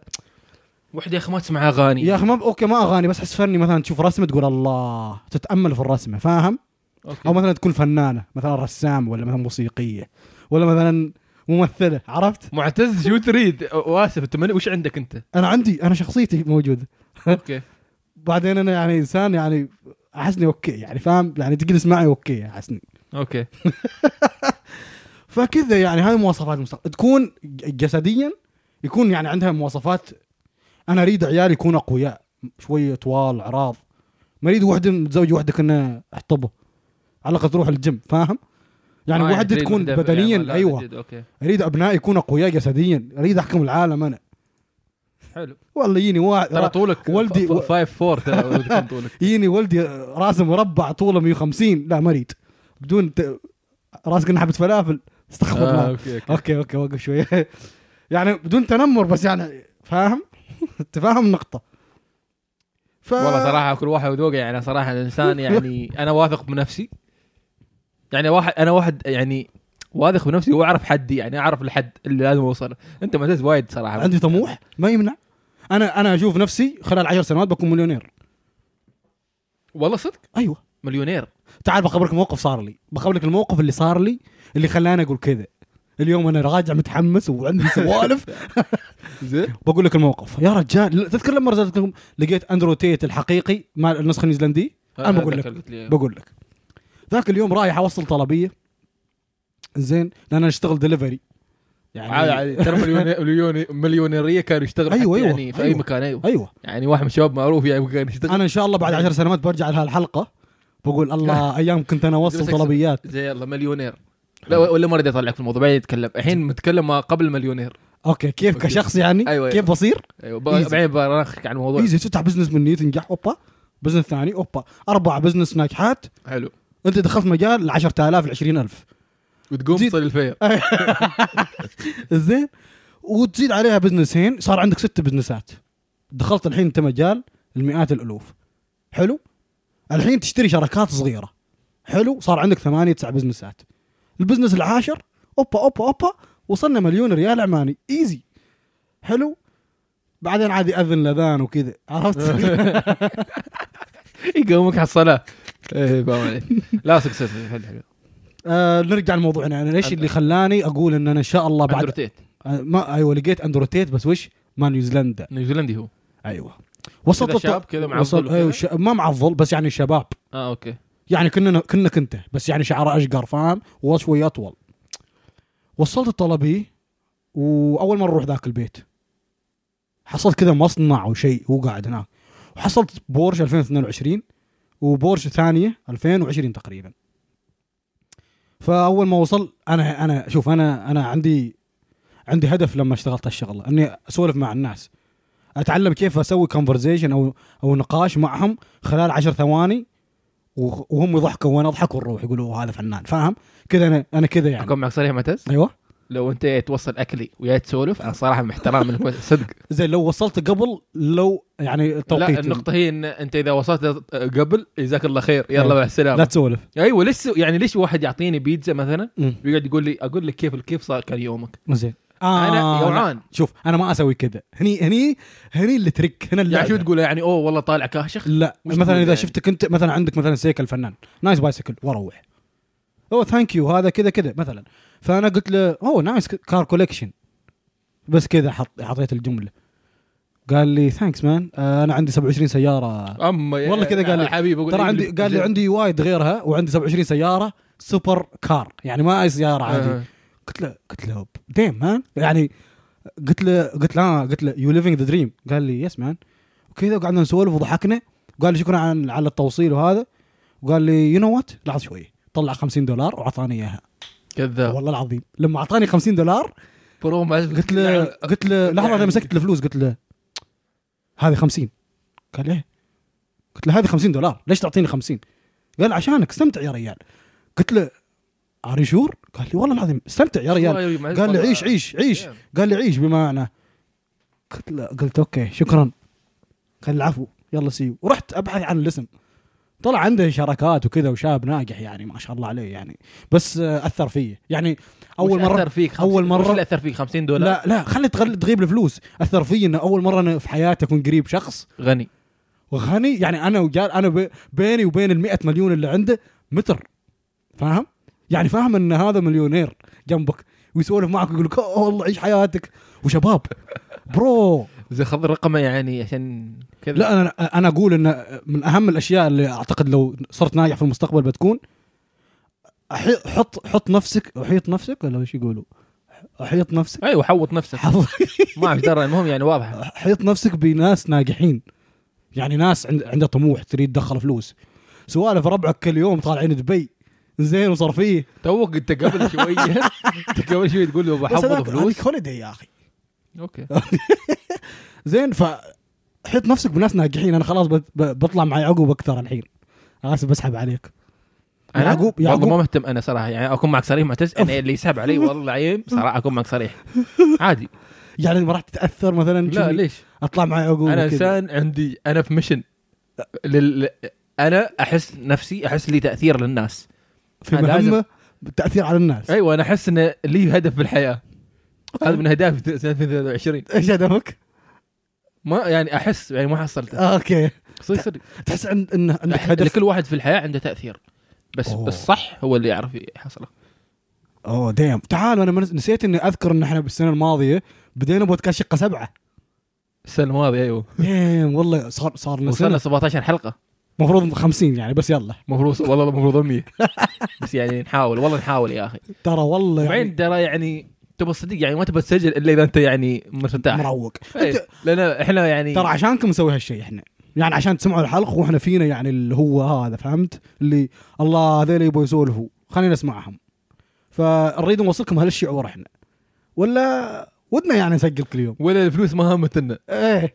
[SPEAKER 2] وحده يا اخي ما تسمع اغاني
[SPEAKER 1] يا اخي ما اوكي ما اغاني بس حس فني مثلا تشوف رسمه تقول الله تتامل في الرسمه فاهم؟
[SPEAKER 2] أوكي.
[SPEAKER 1] او مثلا تكون فنانه مثلا رسام ولا مثلا موسيقيه ولا مثلا ممثله عرفت؟
[SPEAKER 2] معتز شو تريد واسف انت من- وش عندك انت
[SPEAKER 1] انا عندي انا شخصيتي موجوده
[SPEAKER 2] اوكي
[SPEAKER 1] بعدين انا يعني انسان يعني احسني اوكي يعني فاهم يعني تجلس معي اوكي احسني
[SPEAKER 2] اوكي
[SPEAKER 1] فكذا يعني هاي مواصفات المستقبل تكون ج- جسديا يكون يعني عندها مواصفات انا اريد عيالي يكونوا اقوياء شويه طوال عراض ما اريد وحده متزوجه وحده كنا احطبه على الاقل تروح الجيم فاهم يعني
[SPEAKER 2] ما
[SPEAKER 1] وحده
[SPEAKER 2] تريد
[SPEAKER 1] تكون
[SPEAKER 2] وحدة-
[SPEAKER 1] بدنيا
[SPEAKER 2] يعني لا،
[SPEAKER 1] ايوه
[SPEAKER 2] جد، اوكي
[SPEAKER 1] اريد ابنائي يكونوا اقوياء جسديا اريد احكم العالم انا
[SPEAKER 2] حلو
[SPEAKER 1] والله يجيني واحد
[SPEAKER 2] ترى طولك
[SPEAKER 1] والدي-
[SPEAKER 2] 5 4 ترى ولدي كم طولك
[SPEAKER 1] يجيني ولدي راسه مربع طوله 150 لا ما اريد بدون ت... راسك إنه حبه فلافل استخبط
[SPEAKER 2] آه،
[SPEAKER 1] آه.
[SPEAKER 2] اوكي اوكي
[SPEAKER 1] اوكي اوكي وقف شويه يعني بدون تنمر بس يعني فاهم انت فاهم النقطه ف...
[SPEAKER 2] والله صراحه كل واحد وذوقه يعني صراحه الانسان يعني انا واثق بنفسي يعني واحد انا واحد يعني واثق بنفسي واعرف حدي يعني اعرف الحد اللي لازم اوصله انت معتز وايد صراحه
[SPEAKER 1] عندي طموح ما يمنع انا انا اشوف نفسي خلال عشر سنوات بكون مليونير
[SPEAKER 2] والله صدق
[SPEAKER 1] ايوه
[SPEAKER 2] مليونير
[SPEAKER 1] تعال بخبرك موقف صار لي بخبرك الموقف اللي صار لي اللي خلاني اقول كذا اليوم انا راجع متحمس وعندي سوالف
[SPEAKER 2] زين
[SPEAKER 1] بقول لك الموقف يا رجال لا، تذكر لما رزقت لكم لقيت اندرو تيت الحقيقي مع النسخه النيوزيلنديه أنا بقول لك. بقول لك ذاك اليوم رايح اوصل طلبيه زين لان انا اشتغل دليفري يعني
[SPEAKER 2] عادي عادي ترى مليوني- مليوني- مليونيريه كانوا يشتغلوا
[SPEAKER 1] أيوة،
[SPEAKER 2] حتى
[SPEAKER 1] أيوة،
[SPEAKER 2] يعني في اي
[SPEAKER 1] أيوة.
[SPEAKER 2] مكان ايوه
[SPEAKER 1] ايوه
[SPEAKER 2] يعني واحد من الشباب معروف يعني كان يشتغل
[SPEAKER 1] انا ان شاء الله بعد عشر سنوات برجع لهالحلقه بقول الله ايام كنت انا اوصل
[SPEAKER 2] جبتك
[SPEAKER 1] طلبيات
[SPEAKER 2] زي يلا مليونير لا ولا ما رضيت اطلعك في الموضوع بعدين يتكلم الحين متكلم ما قبل مليونير
[SPEAKER 1] اوكي كيف
[SPEAKER 2] أوكي.
[SPEAKER 1] كشخص يعني
[SPEAKER 2] أيوة،
[SPEAKER 1] كيف بصير
[SPEAKER 2] ايوه ب-
[SPEAKER 1] Easy.
[SPEAKER 2] بعدين بناخذك عن الموضوع
[SPEAKER 1] ايزي تفتح بزنس من نية تنجح اوبا بزنس ثاني اوبا اربع بزنس ناجحات
[SPEAKER 2] حلو
[SPEAKER 1] انت دخلت مجال ال 10000 ال 20000
[SPEAKER 2] وتقوم
[SPEAKER 1] جيت-
[SPEAKER 2] تصل الفير
[SPEAKER 1] زين وتزيد عليها بزنسين صار عندك ست بزنسات دخلت الحين انت مجال المئات الالوف حلو الحين تشتري شركات صغيره حلو صار عندك ثمانية تسع بزنسات البزنس العاشر اوبا اوبا اوبا وصلنا مليون ريال عماني ايزي حلو بعدين عادي اذن لاذان وكذا عرفت
[SPEAKER 2] يقومك على الصلاه ايه فاهم عليك لا سكسس حلو حلو
[SPEAKER 1] آه نرجع لموضوعنا انا ليش اللي خلاني اقول ان انا ان شاء الله بعد
[SPEAKER 2] اندروتيت
[SPEAKER 1] آه ما ايوه لقيت اندروتيت بس وش ما نيوزيلندا
[SPEAKER 2] نيوزيلندي هو
[SPEAKER 1] ايوه وسط
[SPEAKER 2] كذا
[SPEAKER 1] الط-
[SPEAKER 2] شاب كذا معضل
[SPEAKER 1] وسط-
[SPEAKER 2] وكذا؟
[SPEAKER 1] أيوة ش... ما معضل بس يعني شباب
[SPEAKER 2] اه اوكي
[SPEAKER 1] يعني كنا كنا كنت بس يعني شعره اشقر فاهم وشوي اطول وصلت الطلبي واول مره اروح ذاك البيت حصلت كذا مصنع او شيء هو قاعد هناك وحصلت بورش 2022 وبورش ثانيه 2020 تقريبا فاول ما وصل انا انا شوف انا انا عندي عندي هدف لما اشتغلت هالشغله اني اسولف مع الناس اتعلم كيف اسوي كونفرزيشن او او نقاش معهم خلال عشر ثواني وخ- وهم يضحكوا وانا اضحك ونروح يقولوا "أوه، هذا فنان فاهم كذا انا انا كذا يعني
[SPEAKER 2] اكون معك صريح معتز
[SPEAKER 1] ايوه
[SPEAKER 2] لو انت جاي توصل اكلي ويا تسولف انا صراحه محترم منك صدق
[SPEAKER 1] زين لو وصلت قبل لو يعني
[SPEAKER 2] لا
[SPEAKER 1] التوقيت
[SPEAKER 2] النقطه هي ان انت اذا وصلت قبل جزاك الله خير
[SPEAKER 1] أيوة.
[SPEAKER 2] يلا مع
[SPEAKER 1] لا
[SPEAKER 2] السلامه
[SPEAKER 1] تسولف
[SPEAKER 2] ايوه ليش يعني ليش واحد يعطيني بيتزا مثلا
[SPEAKER 1] أمم.
[SPEAKER 2] ويقعد يقول لي اقول لك كيف كيف صار كان يومك
[SPEAKER 1] زين آه،
[SPEAKER 2] انا
[SPEAKER 1] لا.
[SPEAKER 2] جوعان
[SPEAKER 1] شوف انا ما اسوي كذا هني هني هني اللي ترك هنا
[SPEAKER 2] يعني شو
[SPEAKER 1] اللي
[SPEAKER 2] تقول يعني اوه والله طالع كاشخ
[SPEAKER 1] لا
[SPEAKER 2] وش
[SPEAKER 1] مثلا
[SPEAKER 2] تقول
[SPEAKER 1] اذا
[SPEAKER 2] يعني؟
[SPEAKER 1] شفتك انت مثلا عندك مثلا سيكل الفنان نايس بايسكل واروح اوه ثانك يو هذا كذا كذا مثلا فانا قلت له اوه نايس كار كوليكشن بس كذا حط حطيت الجمله قال لي ثانكس مان انا عندي 27 سياره
[SPEAKER 2] اما يا-
[SPEAKER 1] والله كذا قال لي.
[SPEAKER 2] يا حبيبي أقول
[SPEAKER 1] ترى
[SPEAKER 2] لك
[SPEAKER 1] عندي
[SPEAKER 2] اللي-
[SPEAKER 1] قال لي عندي وايد غيرها وعندي 27 سياره سوبر كار يعني ما اي سياره عادي
[SPEAKER 2] آه.
[SPEAKER 1] قلت له قلت له ديم مان يعني قلت له قلت له آه، قلت له يو ليفينج ذا دريم قال لي يس مان وكذا وقعدنا نسولف وضحكنا وقال لي شكرا على على التوصيل وهذا وقال لي يو نو وات لحظه شوي طلع 50 دولار واعطاني اياها
[SPEAKER 2] كذاب
[SPEAKER 1] والله العظيم لما اعطاني 50 دولار
[SPEAKER 2] برو ما
[SPEAKER 1] قلت له قلت له لحظه انا
[SPEAKER 2] نعم. يعني-
[SPEAKER 1] مسكت الفلوس قلت له هذه 50 قال ليه؟ قلت له هذه 50 دولار ليش تعطيني 50 قال عشانك استمتع يا ريال قلت له اري شور قال لي والله العظيم استمتع يا ريال قال لي عيش عيش عيش قال لي عيش بمعنى قلت له قلت اوكي شكرا قال لي العفو يلا سيو ورحت ابحث عن الاسم طلع عنده شراكات وكذا وشاب ناجح يعني ما شاء الله عليه يعني بس آه، اثر فيي يعني اول مره
[SPEAKER 2] اثر فيك
[SPEAKER 1] أول مرة-
[SPEAKER 2] وش اللي اثر فيك 50 دولار
[SPEAKER 1] لا لا خلي تغل- تغيب الفلوس اثر فيي انه اول مره انا في حياتي اكون قريب شخص
[SPEAKER 2] غني
[SPEAKER 1] وغني يعني انا وجال انا ب- بيني وبين ال 100 مليون اللي عنده متر فاهم؟ يعني فاهم ان هذا مليونير جنبك ويسولف معك ويقول لك "أوه، والله عيش حياتك وشباب برو
[SPEAKER 2] زي خذ رقمه يعني عشان كذا
[SPEAKER 1] لا انا انا اقول ان من اهم الاشياء اللي اعتقد لو صرت ناجح في المستقبل بتكون أحي- حط حط نفسك احيط نفسك ولا ايش يقولوا؟ احيط نفسك
[SPEAKER 2] ايوه حوط نفسك
[SPEAKER 1] حط
[SPEAKER 2] ما اعرف درى المهم يعني واضحه
[SPEAKER 1] حيط نفسك بناس ناجحين يعني ناس عند عنده طموح تريد تدخل فلوس سوالف ربعك كل يوم طالعين دبي زين وصرفيه
[SPEAKER 2] توك انت قبل شويه انت قبل شويه تقول له
[SPEAKER 1] بس
[SPEAKER 2] بحوط
[SPEAKER 1] هذاك-
[SPEAKER 2] فلوس
[SPEAKER 1] هذيك هوليدي يا اخي
[SPEAKER 2] اوكي
[SPEAKER 1] زين ف حيط نفسك بناس ناجحين انا خلاص بت- ب- بطلع مع يعقوب اكثر الحين اسف بسحب عليك
[SPEAKER 2] انا
[SPEAKER 1] يعقوب-
[SPEAKER 2] والله
[SPEAKER 1] يعقوب-
[SPEAKER 2] ما مهتم انا صراحه يعني اكون معك صريح معتز انا اللي يسحب علي والله العظيم صراحه اكون معك صريح عادي
[SPEAKER 1] يعني ما راح تتاثر مثلا
[SPEAKER 2] لا
[SPEAKER 1] تشوفني
[SPEAKER 2] ليش
[SPEAKER 1] اطلع مع يعقوب
[SPEAKER 2] انا
[SPEAKER 1] وكذا.
[SPEAKER 2] انسان عندي انا في ميشن لل... انا احس نفسي احس لي تاثير للناس
[SPEAKER 1] في
[SPEAKER 2] أنا لازم-
[SPEAKER 1] مهمه بالتاثير على الناس
[SPEAKER 2] ايوه انا احس ان لي هدف في الحياه هذا من اهدافي سنه 2023
[SPEAKER 1] ايش هدفك؟
[SPEAKER 2] ما يعني احس يعني ما حصلته
[SPEAKER 1] آه، اوكي
[SPEAKER 2] صدق صدق
[SPEAKER 1] تحس عند ان عندك
[SPEAKER 2] أحد-
[SPEAKER 1] هدف
[SPEAKER 2] لكل واحد في الحياه عنده تاثير بس
[SPEAKER 1] أوه.
[SPEAKER 2] أوه. الصح هو اللي يعرف يحصله
[SPEAKER 1] اوه ديم تعالوا انا منس- نسيت اني اذكر ان احنا بالسنه الماضيه بدينا بودكاست شقه سبعه
[SPEAKER 2] السنه الماضيه
[SPEAKER 1] أيوه.
[SPEAKER 2] ايوه
[SPEAKER 1] ديم والله صار صار لنا
[SPEAKER 2] وصلنا
[SPEAKER 1] سنه
[SPEAKER 2] 17 حلقه
[SPEAKER 1] المفروض 50 يعني بس يلا
[SPEAKER 2] المفروض والله المفروض 100 بس يعني نحاول والله نحاول يا اخي
[SPEAKER 1] ترى والله
[SPEAKER 2] وبعدين
[SPEAKER 1] يعني
[SPEAKER 2] ترى يعني تبى صدق يعني ما تبى تسجل الا اذا انت يعني مرتاح
[SPEAKER 1] مروق
[SPEAKER 2] إيه،
[SPEAKER 1] أنت-
[SPEAKER 2] لان احنا يعني
[SPEAKER 1] ترى عشانكم نسوي هالشيء احنا يعني عشان تسمعوا الحلقه واحنا فينا يعني اللي هو هذا فهمت اللي الله هذول يبغوا يسولفوا خلينا نسمعهم فنريد نوصلكم هالشعور احنا ولا ودنا يعني نسجل كل يوم إيه،
[SPEAKER 2] ولا الفلوس ما همتنا
[SPEAKER 1] ايه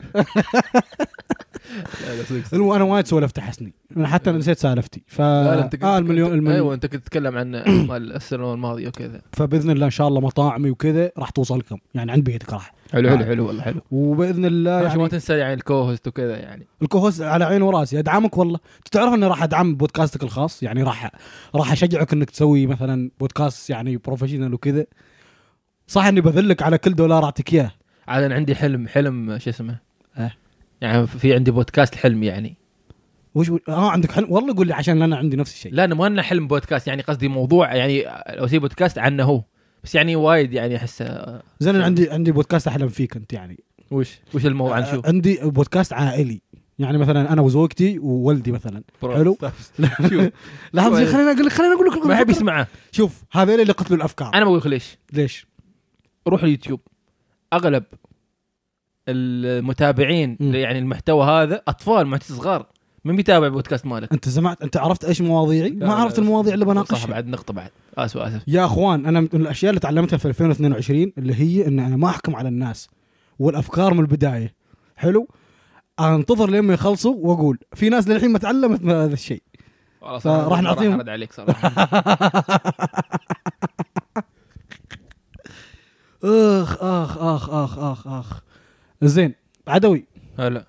[SPEAKER 2] لا، لا، صدق، صدق.
[SPEAKER 1] المهم انا وايد سولفت حسني انا حتى أنا نسيت سالفتي ف
[SPEAKER 2] إيه. لا، لا، أنت كنت-
[SPEAKER 1] آه المليون
[SPEAKER 2] أنت-
[SPEAKER 1] المليون
[SPEAKER 2] ايوه انت كنت تتكلم عن مال السنه الماضيه وكذا
[SPEAKER 1] فباذن الله ان شاء الله مطاعمي وكذا راح توصلكم يعني عند بيتك راح
[SPEAKER 2] حلو
[SPEAKER 1] حلو،
[SPEAKER 2] حلو حلو والله حلو
[SPEAKER 1] وباذن الله
[SPEAKER 2] آه. عشان ما
[SPEAKER 1] يعني
[SPEAKER 2] تنسى يعني الكوهست وكذا يعني
[SPEAKER 1] الكوهوس على عيني وراسي ادعمك والله أنت تعرف اني راح ادعم بودكاستك الخاص يعني راح راح اشجعك انك تسوي مثلا بودكاست يعني بروفيشنال وكذا صح اني بذلك على كل دولار اعطيك اياه
[SPEAKER 2] عاد انا عندي حلم حلم شو اسمه
[SPEAKER 1] إيه.
[SPEAKER 2] يعني في عندي بودكاست حلم يعني
[SPEAKER 1] وش اه عندك حلم والله قول لي عشان انا عندي نفس الشيء
[SPEAKER 2] لا انا ما انه حلم بودكاست يعني قصدي موضوع يعني لو سي بودكاست عنه هو بس يعني وايد يعني احس آه،
[SPEAKER 1] زين انا عندي عندي بودكاست احلم فيك انت يعني
[SPEAKER 2] وش وش الموضوع عن شو
[SPEAKER 1] آه، عندي بودكاست عائلي يعني مثلا انا وزوجتي وولدي مثلا حلو.
[SPEAKER 2] شوف
[SPEAKER 1] لحظه زين، خليني اقول لك خليني اقول لك
[SPEAKER 2] ما يحب يسمعه
[SPEAKER 1] شوف هذول اللي قتلوا الافكار
[SPEAKER 2] انا بقول لك ليش
[SPEAKER 1] ليش؟
[SPEAKER 2] روح اليوتيوب اغلب المتابعين
[SPEAKER 1] مم.
[SPEAKER 2] يعني المحتوى هذا اطفال ما صغار من بيتابع بودكاست مالك
[SPEAKER 1] انت سمعت انت عرفت ايش مواضيعي؟
[SPEAKER 2] لا،
[SPEAKER 1] ما
[SPEAKER 2] لا،
[SPEAKER 1] عرفت
[SPEAKER 2] لا.
[SPEAKER 1] المواضيع اللي
[SPEAKER 2] صح
[SPEAKER 1] بناقشها
[SPEAKER 2] بعد نقطه بعد اسف اسف
[SPEAKER 1] يا اخوان انا من الاشياء اللي تعلمتها في 2022 اللي هي ان انا ما احكم على الناس والافكار من البدايه حلو؟ انتظر لما يخلصوا واقول في ناس للحين ما تعلمت من هذا الشيء
[SPEAKER 2] خلاص
[SPEAKER 1] فراح
[SPEAKER 2] أنا ما
[SPEAKER 1] نعطيهم-
[SPEAKER 2] ارد عليك صراحه
[SPEAKER 1] اخ اخ اخ اخ اخ اخ زين عدوي
[SPEAKER 2] هلا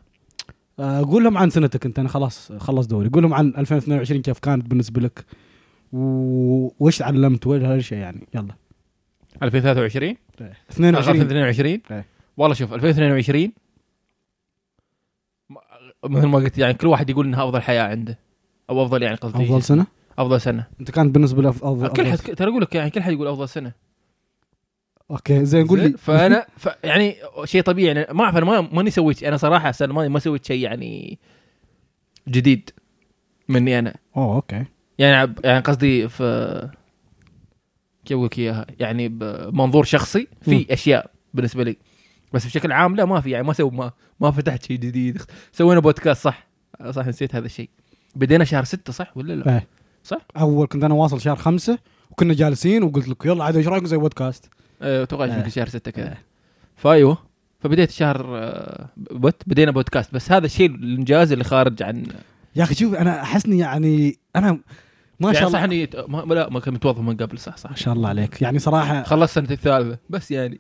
[SPEAKER 1] آه، قول لهم عن سنتك انت انا خلاص خلص دوري قول لهم عن 2022 كيف كانت بالنسبه لك و- وايش تعلمت وش هالشيء يعني يلا
[SPEAKER 2] 2023
[SPEAKER 1] 22
[SPEAKER 2] 2022
[SPEAKER 1] إيه.
[SPEAKER 2] والله شوف 2022 ما- مثل ما قلت يعني كل واحد يقول انها افضل حياه عنده او افضل يعني قصدي
[SPEAKER 1] افضل سنه
[SPEAKER 2] افضل سنه
[SPEAKER 1] انت كانت بالنسبه لك افضل
[SPEAKER 2] كل
[SPEAKER 1] أفضل
[SPEAKER 2] حد ترى اقول لك يعني كل حد يقول افضل سنه
[SPEAKER 1] اوكي زين قول
[SPEAKER 2] زين؟
[SPEAKER 1] لي
[SPEAKER 2] فانا ف يعني شيء طبيعي يعني ما اعرف انا ما ماني سويت انا صراحه السنه الماضيه ما سويت شيء يعني جديد مني انا
[SPEAKER 1] اوه اوكي
[SPEAKER 2] يعني عب- يعني قصدي في كيف اقول لك اياها يعني بمنظور شخصي
[SPEAKER 1] مم.
[SPEAKER 2] في اشياء بالنسبه لي بس بشكل عام لا ما في يعني ما سو ما ما فتحت شيء جديد سوينا بودكاست صح صح نسيت هذا الشيء بدينا شهر ستة صح ولا لا؟
[SPEAKER 1] إيه. اول كنت انا واصل شهر خمسة وكنا جالسين وقلت لك يلا عاد ايش رايكم زي بودكاست
[SPEAKER 2] أه، اتوقع
[SPEAKER 1] إيه.
[SPEAKER 2] يمكن شهر ستة كذا فايوه فبديت شهر أه، بوت بدينا بودكاست بس هذا الشيء الانجاز اللي خارج عن
[SPEAKER 1] يا اخي شوف انا احسني يعني انا ما شاء
[SPEAKER 2] يعني
[SPEAKER 1] الله
[SPEAKER 2] صح اني ما لا ما كنت متوظف من قبل صح صح
[SPEAKER 1] ما شاء الله عليك يعني صراحه
[SPEAKER 2] خلصت سنة الثالثة بس يعني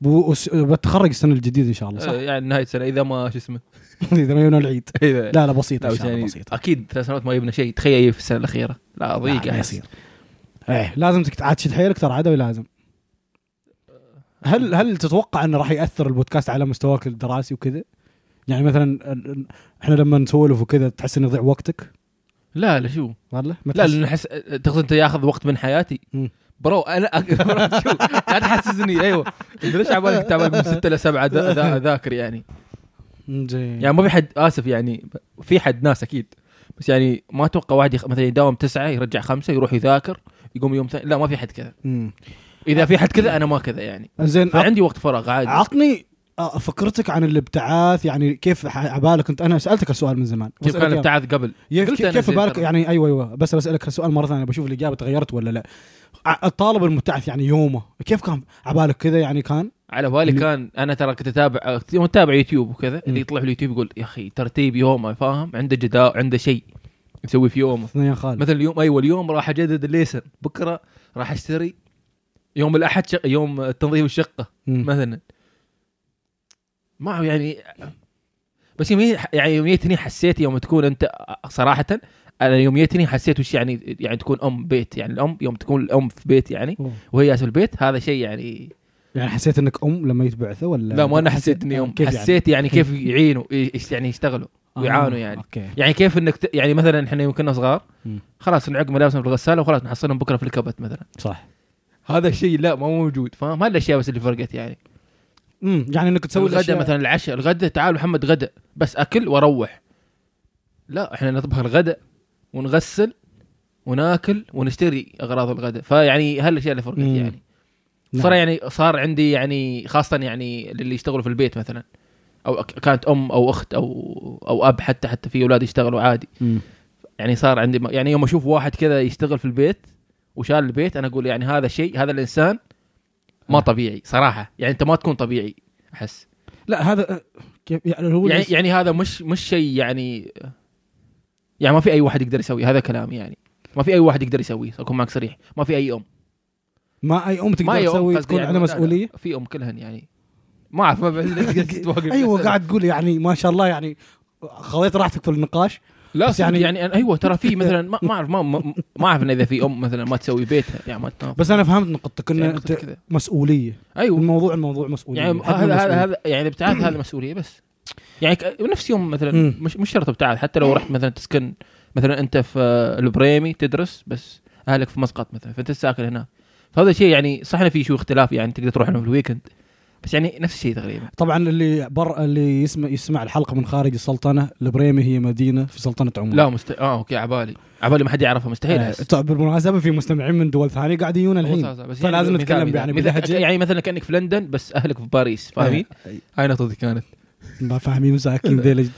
[SPEAKER 1] بو- وس- بتخرج السنه الجديده ان شاء الله
[SPEAKER 2] أه،
[SPEAKER 1] صح
[SPEAKER 2] يعني نهاية السنة إذا ما شو اسمه
[SPEAKER 1] اذا ما يبنى العيد
[SPEAKER 2] إذا
[SPEAKER 1] لا لا بسيطه ان
[SPEAKER 2] إيه. لا بس
[SPEAKER 1] شاء الله
[SPEAKER 2] يعني
[SPEAKER 1] بسيطه
[SPEAKER 2] اكيد ثلاث سنوات ما يبنى شيء تخيل يجي في السنه الاخيره لا ضيق
[SPEAKER 1] لا، ما
[SPEAKER 2] يعني.
[SPEAKER 1] يصير ايه لازم تك- عاد تشد حيلك ترى عدوي لازم هل هل تتوقع انه راح ياثر البودكاست على مستواك الدراسي وكذا؟ يعني مثلا ال- ال- احنا لما نسولف وكذا تحس انه يضيع وقتك
[SPEAKER 2] لا لا شو
[SPEAKER 1] والله ما
[SPEAKER 2] لا
[SPEAKER 1] تحس؟
[SPEAKER 2] لان احس تقصد انت ياخذ وقت من حياتي
[SPEAKER 1] مم.
[SPEAKER 2] برو انا برو، شو لا تحسسني ايوه أنت ليش عبالك تعبان من ستة الى سبعة دا- دا- اذاكر يعني
[SPEAKER 1] زين
[SPEAKER 2] يعني ما في حد اسف يعني في حد ناس اكيد بس يعني ما اتوقع واحد يخ... مثلا يداوم تسعة يرجع خمسة يروح يذاكر يقوم يوم ثاني لا ما في حد كذا
[SPEAKER 1] مم.
[SPEAKER 2] اذا في حد كذا انا ما كذا يعني
[SPEAKER 1] زين عط-
[SPEAKER 2] فعندي وقت فراغ عادي
[SPEAKER 1] عطني آه، فكرتك عن الابتعاث يعني كيف ح- عبالك انت انا سالتك السؤال من زمان
[SPEAKER 2] كيف
[SPEAKER 1] بسألك
[SPEAKER 2] كان
[SPEAKER 1] إياه.
[SPEAKER 2] الابتعاث قبل
[SPEAKER 1] كيف-
[SPEAKER 2] قلت
[SPEAKER 1] كيف
[SPEAKER 2] أنا
[SPEAKER 1] كيف
[SPEAKER 2] زين
[SPEAKER 1] بالك
[SPEAKER 2] ترى.
[SPEAKER 1] يعني ايوه ايوه بس بسالك هالسؤال مره ثانيه بشوف الاجابه تغيرت ولا لا ع- الطالب المبتعث يعني يومه كيف كان عبالك كذا يعني كان
[SPEAKER 2] على بالي
[SPEAKER 1] اللي-
[SPEAKER 2] كان انا ترى كنت اتابع كنت متابع يوتيوب وكذا
[SPEAKER 1] مم.
[SPEAKER 2] اللي يطلع في اليوتيوب يقول يا اخي ترتيب يومه فاهم عنده جداول عنده شيء يسوي في يومه
[SPEAKER 1] اثنين يا خالد
[SPEAKER 2] مثلا اليوم ايوه اليوم راح اجدد الليسن بكره راح اشتري يوم الاحد شق... يوم تنظيف الشقه
[SPEAKER 1] مم.
[SPEAKER 2] مثلا ما هو يعني بس يومي يعني يوميتني حسيت يوم تكون انت صراحه انا يوميتني حسيت وش يعني يعني تكون ام بيت يعني الام يوم تكون الام في بيت يعني
[SPEAKER 1] أوه.
[SPEAKER 2] وهي في البيت هذا شيء يعني
[SPEAKER 1] يعني حسيت انك ام لما يتبعثه ولا
[SPEAKER 2] لا ما انا حسيت اني يوم
[SPEAKER 1] كيف يعني؟
[SPEAKER 2] حسيت يعني كيف يعينوا إيش- يعني يشتغلوا
[SPEAKER 1] آه،
[SPEAKER 2] ويعانوا يعني.
[SPEAKER 1] اوكي
[SPEAKER 2] يعني كيف انك ت... يعني مثلا احنا يوم كنا صغار
[SPEAKER 1] مم.
[SPEAKER 2] خلاص نعق ملابسنا في الغساله وخلاص نحصلهم بكره في الكبت مثلا
[SPEAKER 1] صح
[SPEAKER 2] هذا الشيء لا ما هو موجود فاهم هذه الاشياء بس اللي فرقت يعني
[SPEAKER 1] امم يعني انك تسوي
[SPEAKER 2] تسوي الغداء
[SPEAKER 1] الأشياء-
[SPEAKER 2] مثلا العشاء الغداء تعال محمد غداء بس اكل واروح لا احنا نطبخ الغداء ونغسل وناكل ونشتري اغراض الغداء فيعني هالاشياء اللي فرقت
[SPEAKER 1] مم.
[SPEAKER 2] يعني
[SPEAKER 1] نعم.
[SPEAKER 2] صار يعني صار عندي يعني خاصه يعني اللي يشتغلوا في البيت مثلا او أك- كانت ام او اخت او او اب حتى حتى في اولاد يشتغلوا عادي
[SPEAKER 1] مم.
[SPEAKER 2] يعني صار عندي يعني يوم اشوف واحد كذا يشتغل في البيت وشال البيت انا اقول يعني هذا شيء هذا الانسان ما
[SPEAKER 1] آه.
[SPEAKER 2] طبيعي صراحه يعني انت ما تكون طبيعي احس
[SPEAKER 1] لا هذا كيف يعني هو
[SPEAKER 2] يعني يعني هذا مش مش شيء يعني يعني ما في اي واحد يقدر يسوي هذا كلامي يعني ما في اي واحد يقدر يسويه اكون معك صريح ما في اي ام
[SPEAKER 1] ما اي ام
[SPEAKER 2] ما
[SPEAKER 1] تقدر
[SPEAKER 2] أي أم
[SPEAKER 1] تسوي
[SPEAKER 2] قصدي
[SPEAKER 1] تكون
[SPEAKER 2] يعني
[SPEAKER 1] على
[SPEAKER 2] لا، لا،
[SPEAKER 1] مسؤوليه
[SPEAKER 2] في ام كلهن يعني ما اعرف ما بعرف ليش قاعد تتوقف.
[SPEAKER 1] ايوه قاعد تقول يعني ما شاء الله يعني خذيت راحتك في النقاش
[SPEAKER 2] لا
[SPEAKER 1] بس
[SPEAKER 2] صدق، يعني
[SPEAKER 1] يعني-
[SPEAKER 2] يعني أنا- ايوه ترى في مثلا ما ما اعرف ما ما ما اعرف إن اذا في ام مثلا ما تسوي بيتها يعني ما تنام
[SPEAKER 1] بس انا فهمت نقطتك
[SPEAKER 2] يعني
[SPEAKER 1] انه
[SPEAKER 2] مثل
[SPEAKER 1] انت
[SPEAKER 2] كذا.
[SPEAKER 1] مسؤوليه
[SPEAKER 2] ايوه
[SPEAKER 1] الموضوع الموضوع مسؤوليه
[SPEAKER 2] يعني
[SPEAKER 1] حجم
[SPEAKER 2] هذا هذا
[SPEAKER 1] المسؤولية.
[SPEAKER 2] هذا يعني الابتعاث هذا مسؤوليه بس يعني ك- نفس يوم مثلا
[SPEAKER 1] مم.
[SPEAKER 2] مش مش شرط ابتعاث حتى لو رحت مثلا تسكن مثلا انت في البريمي تدرس بس اهلك في مسقط مثلا فانت ساكن هناك فهذا شيء يعني صح انه في شو اختلاف يعني تقدر تروح لهم في الويكند بس يعني نفس الشيء تقريبا
[SPEAKER 1] طبعا اللي بر اللي يسمع يسمع الحلقه من خارج السلطنه البريمي هي مدينه في سلطنه عمان
[SPEAKER 2] لا مست... اه اوكي عبالي عبالي ما حد يعرفها مستحيل
[SPEAKER 1] آه،
[SPEAKER 2] أحس.
[SPEAKER 1] طب بالمناسبه في مستمعين من دول ثانيه قاعد يجونا
[SPEAKER 2] هو
[SPEAKER 1] الحين
[SPEAKER 2] صح- صح، بس
[SPEAKER 1] فلازم
[SPEAKER 2] مثال-
[SPEAKER 1] نتكلم
[SPEAKER 2] مثال-
[SPEAKER 1] يعني إيه.
[SPEAKER 2] مثال-
[SPEAKER 1] بلهجة.
[SPEAKER 2] يعني مثلا كانك في لندن بس اهلك في باريس فاهمين؟ هاي نقطتي كانت
[SPEAKER 1] ما فاهمين مساكين ذيل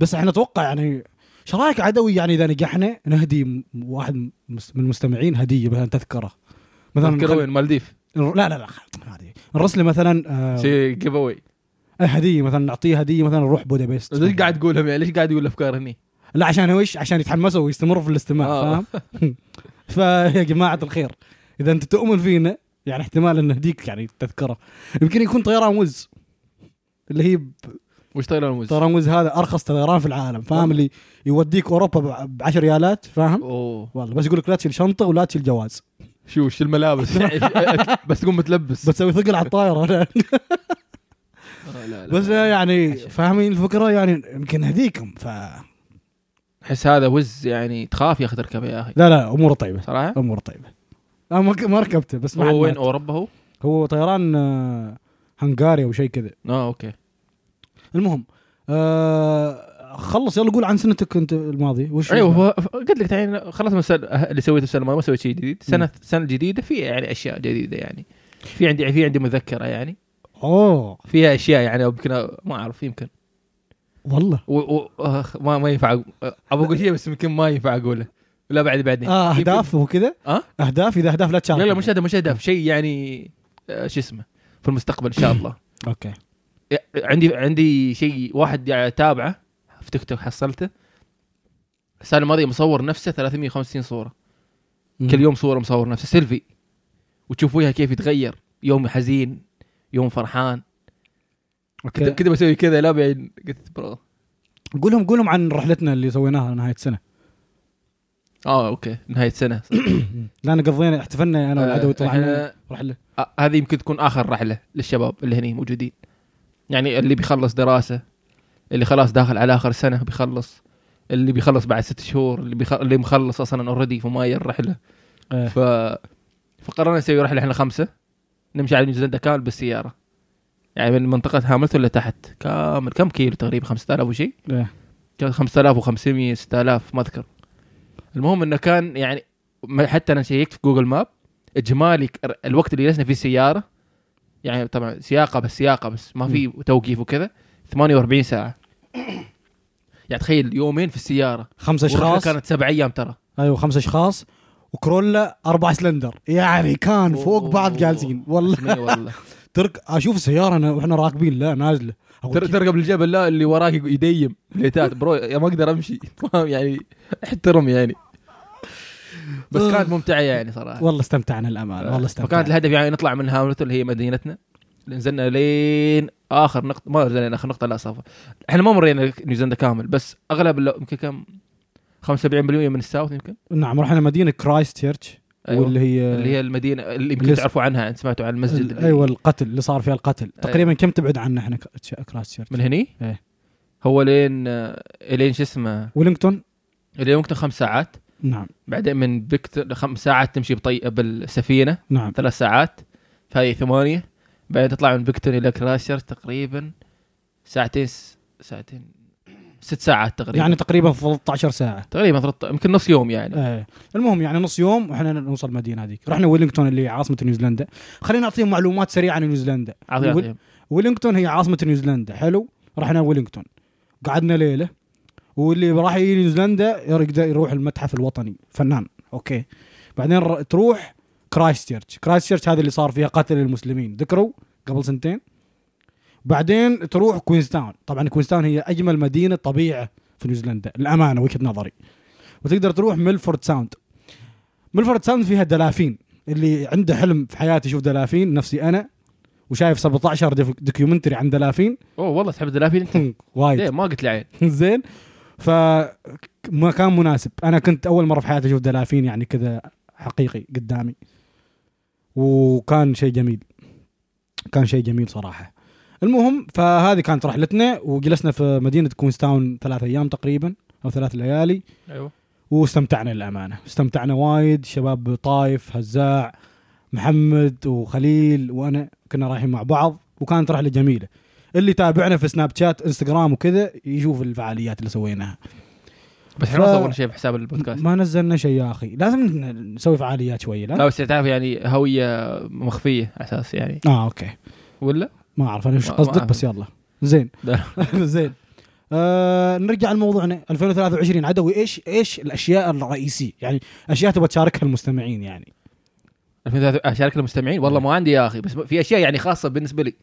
[SPEAKER 1] بس احنا اتوقع يعني ايش رايك عدوي يعني اذا نجحنا نهدي م- واحد مس- من المستمعين هديه مثلا تذكره مثلا
[SPEAKER 2] تذكر وين مالديف
[SPEAKER 1] نخل... لا لا لا خل- هذه نرسل له مثلا آه
[SPEAKER 2] شيء جيف اواي
[SPEAKER 1] أي هديه مثلا نعطيه هديه مثلا نروح بودابست
[SPEAKER 2] ليش قاعد تقولهم يعني ليش قاعد يقول الافكار هني؟
[SPEAKER 1] لا عشان هو ايش عشان يتحمسوا ويستمروا في الاستماع
[SPEAKER 2] آه.
[SPEAKER 1] فاهم فيا جماعه الخير اذا انت تؤمن فينا يعني احتمال ان نهديك يعني تذكره يمكن يكون طيران وز اللي هي ب-
[SPEAKER 2] وش طيران الموز؟
[SPEAKER 1] طيران وز هذا ارخص طيران في العالم فاهم اللي يوديك اوروبا ب 10 ريالات فاهم
[SPEAKER 2] اوه
[SPEAKER 1] والله بس يقول لك لا تشيل شنطه ولا تشيل جواز
[SPEAKER 2] شو وش الملابس بس تقوم متلبس
[SPEAKER 1] بتسوي ثقل على الطائره
[SPEAKER 2] آه، لا، لا.
[SPEAKER 1] بس يعني فاهمين الفكره يعني يمكن نهديكم ف لا
[SPEAKER 2] احس هذا وز يعني تخاف يا اخي تركبه يا اخي
[SPEAKER 1] لا اموره طيبه
[SPEAKER 2] صراحه
[SPEAKER 1] اموره طيبه انا ما- ما ركبته بس ما
[SPEAKER 2] هو وين
[SPEAKER 1] عاد-
[SPEAKER 2] اوروبا هو؟
[SPEAKER 1] هو طيران آه، هنغاريا وشي كذا
[SPEAKER 2] اه اوكي
[SPEAKER 1] المهم آه خلص يلا قول عن سنتك انت الماضي وش
[SPEAKER 2] ايوه هو- ف- قلت لك يعني خلاص من السنة- اللي سويته السنه الماضيه ما سويت شيء جديد السنه السنه الجديده في يعني اشياء جديده يعني في عندي في عندي مذكره يعني
[SPEAKER 1] اوه
[SPEAKER 2] فيها اشياء يعني يمكن ما اعرف يمكن
[SPEAKER 1] والله
[SPEAKER 2] و... و... آخ، ما ما ينفع أقو- ابغى اقول شيء بس يمكن ما ينفع اقوله لا بعد بعدين
[SPEAKER 1] آه
[SPEAKER 2] يمكن-
[SPEAKER 1] اهداف وكذا
[SPEAKER 2] اه
[SPEAKER 1] اهداف اذا اهداف لا تشارك
[SPEAKER 2] إيه. لا لا مش هدف مش هدف شيء يعني آه، شو اسمه في المستقبل ان شاء الله
[SPEAKER 1] اوكي
[SPEAKER 2] عندي عندي شيء واحد يعني اتابعه في تيك توك حصلته السنه الماضيه مصور نفسه 350 صوره كل يوم صوره مصور نفسه سيلفي وتشوف وجهه كيف يتغير يوم حزين يوم فرحان كذا
[SPEAKER 1] اوكي
[SPEAKER 2] كذا بسوي كذا لا بعدين قلت برو
[SPEAKER 1] قول لهم قول لهم عن رحلتنا اللي سويناها نهايه السنه
[SPEAKER 2] اه اوكي نهايه سنه
[SPEAKER 1] لان قضينا احتفلنا انا والعدوي
[SPEAKER 2] آه،
[SPEAKER 1] طلعنا
[SPEAKER 2] إحنا-
[SPEAKER 1] رحله
[SPEAKER 2] آه، هذه يمكن تكون اخر رحله للشباب اللي هني موجودين يعني اللي بيخلص دراسه اللي خلاص داخل على اخر سنه بيخلص اللي بيخلص بعد ست شهور اللي بيخ... اللي مخلص اصلا اوريدي في ماي الرحله
[SPEAKER 1] إيه.
[SPEAKER 2] ف فقررنا نسوي رحله احنا خمسه نمشي على نيوزيلندا كامل بالسياره يعني من منطقه هاملتون لتحت كامل كم كيلو تقريبا 5000 وشي
[SPEAKER 1] إيه.
[SPEAKER 2] كان 5500 6000 ما اذكر المهم انه كان يعني ما- حتى انا شيكت في جوجل ماب اجمالي ك- الوقت اللي جلسنا فيه السياره يعني طبعا سياقه بس سياقه بس ما في توقيف وكذا 48 ساعه يعني تخيل يومين في السياره
[SPEAKER 1] خمسة
[SPEAKER 2] والرحلة
[SPEAKER 1] اشخاص
[SPEAKER 2] كانت سبع ايام ترى
[SPEAKER 1] ايوه خمسة اشخاص وكرولا اربع سلندر يعني كان فوق بعض جالسين والله
[SPEAKER 2] اسمي والله
[SPEAKER 1] ترك اشوف سياره أنا واحنا راكبين لا نازله أقول
[SPEAKER 2] تر- ترقب الجبل لا اللي وراك يديم ليتات برو يا ما اقدر امشي فاهم يعني احترم يعني بس كانت ممتعه يعني صراحه
[SPEAKER 1] والله استمتعنا الامانه والله
[SPEAKER 2] فكانت
[SPEAKER 1] استمتعنا
[SPEAKER 2] الهدف يعني نطلع من هاملتون اللي هي مدينتنا نزلنا لين اخر نقطه ما نزلنا اخر نقطه لا صفر احنا ما مرينا نيوزيلندا كامل بس اغلب اللو- يمكن كم 75% من الساوث يمكن
[SPEAKER 1] نعم رحنا مدينه كرايست تشيرش
[SPEAKER 2] أيوة.
[SPEAKER 1] واللي هي
[SPEAKER 2] اللي هي المدينه اللي يمكن
[SPEAKER 1] اللي-
[SPEAKER 2] تعرفوا عنها انت سمعتوا عن المسجد
[SPEAKER 1] ال-
[SPEAKER 2] اللي-
[SPEAKER 1] ايوه القتل اللي صار فيها القتل تقريبا كم تبعد عنا احنا ك- تش- كرايست تشيرش
[SPEAKER 2] من هني
[SPEAKER 1] إيه.
[SPEAKER 2] هو لين آه، لين شو اسمه
[SPEAKER 1] ويلينغتون
[SPEAKER 2] لين ممكن خمس ساعات
[SPEAKER 1] نعم
[SPEAKER 2] بعدين من بكتر خمس ساعات تمشي بطي بالسفينه
[SPEAKER 1] نعم
[SPEAKER 2] ثلاث ساعات فهي ثمانية بعدين تطلع من بكتون إلى كراشر تقريبا ساعتين س- ساعتين ست ساعات تقريبا
[SPEAKER 1] يعني تقريبا 13 ساعه
[SPEAKER 2] تقريبا 13 يمكن نص يوم يعني
[SPEAKER 1] ايه المهم يعني نص يوم واحنا نوصل المدينه هذيك رحنا ويلينغتون اللي هي عاصمه نيوزيلندا خلينا نعطيهم معلومات سريعه عن نيوزيلندا
[SPEAKER 2] عطي
[SPEAKER 1] ويل-
[SPEAKER 2] عطيهم
[SPEAKER 1] ويلينغتون هي عاصمه نيوزيلندا حلو رحنا ويلينغتون قعدنا ليله واللي راح يجي نيوزيلندا يقدر يروح المتحف الوطني فنان اوكي بعدين ر- تروح كرايست تشيرش كرايست تشيرش هذه اللي صار فيها قتل المسلمين ذكروا قبل سنتين بعدين تروح كوينستاون طبعا كوينستاون هي اجمل مدينه طبيعه في نيوزيلندا الامانه وجهه نظري وتقدر تروح ميلفورد ساوند ميلفورد ساوند فيها دلافين اللي عنده حلم في حياته يشوف دلافين نفسي انا وشايف 17 دف- دوكيومنتري عن دلافين
[SPEAKER 2] اوه والله تحب الدلافين انت
[SPEAKER 1] وايد
[SPEAKER 2] ليه ما قلت لي عين
[SPEAKER 1] زين فمكان مناسب انا كنت اول مره في حياتي اشوف دلافين يعني كذا حقيقي قدامي وكان شيء جميل كان شيء جميل صراحه المهم فهذه كانت رحلتنا وجلسنا في مدينه كوينستاون ثلاث ايام تقريبا او ثلاث ليالي
[SPEAKER 2] ايوه
[SPEAKER 1] واستمتعنا للامانه استمتعنا وايد شباب طايف هزاع محمد وخليل وانا كنا رايحين مع بعض وكانت رحله جميله اللي تابعنا في سناب شات انستغرام وكذا يشوف الفعاليات اللي سويناها
[SPEAKER 2] بس احنا
[SPEAKER 1] ف-
[SPEAKER 2] ما صورنا شيء في حساب البودكاست
[SPEAKER 1] ما نزلنا شيء يا اخي لازم ن- نسوي فعاليات شويه لا
[SPEAKER 2] لا بس تعرف يعني هويه مخفيه على اساس يعني
[SPEAKER 1] اه اوكي
[SPEAKER 2] ولا
[SPEAKER 1] ما اعرف انا وش
[SPEAKER 2] ما-
[SPEAKER 1] قصدك
[SPEAKER 2] ما-
[SPEAKER 1] بس يلا زين
[SPEAKER 2] لا.
[SPEAKER 1] زين آه نرجع لموضوعنا 2023 عدوي ايش ايش الاشياء الرئيسيه يعني اشياء تبغى تشاركها المستمعين يعني
[SPEAKER 2] 2003 اشارك المستمعين والله ما عندي يا اخي بس في اشياء يعني خاصه بالنسبه لي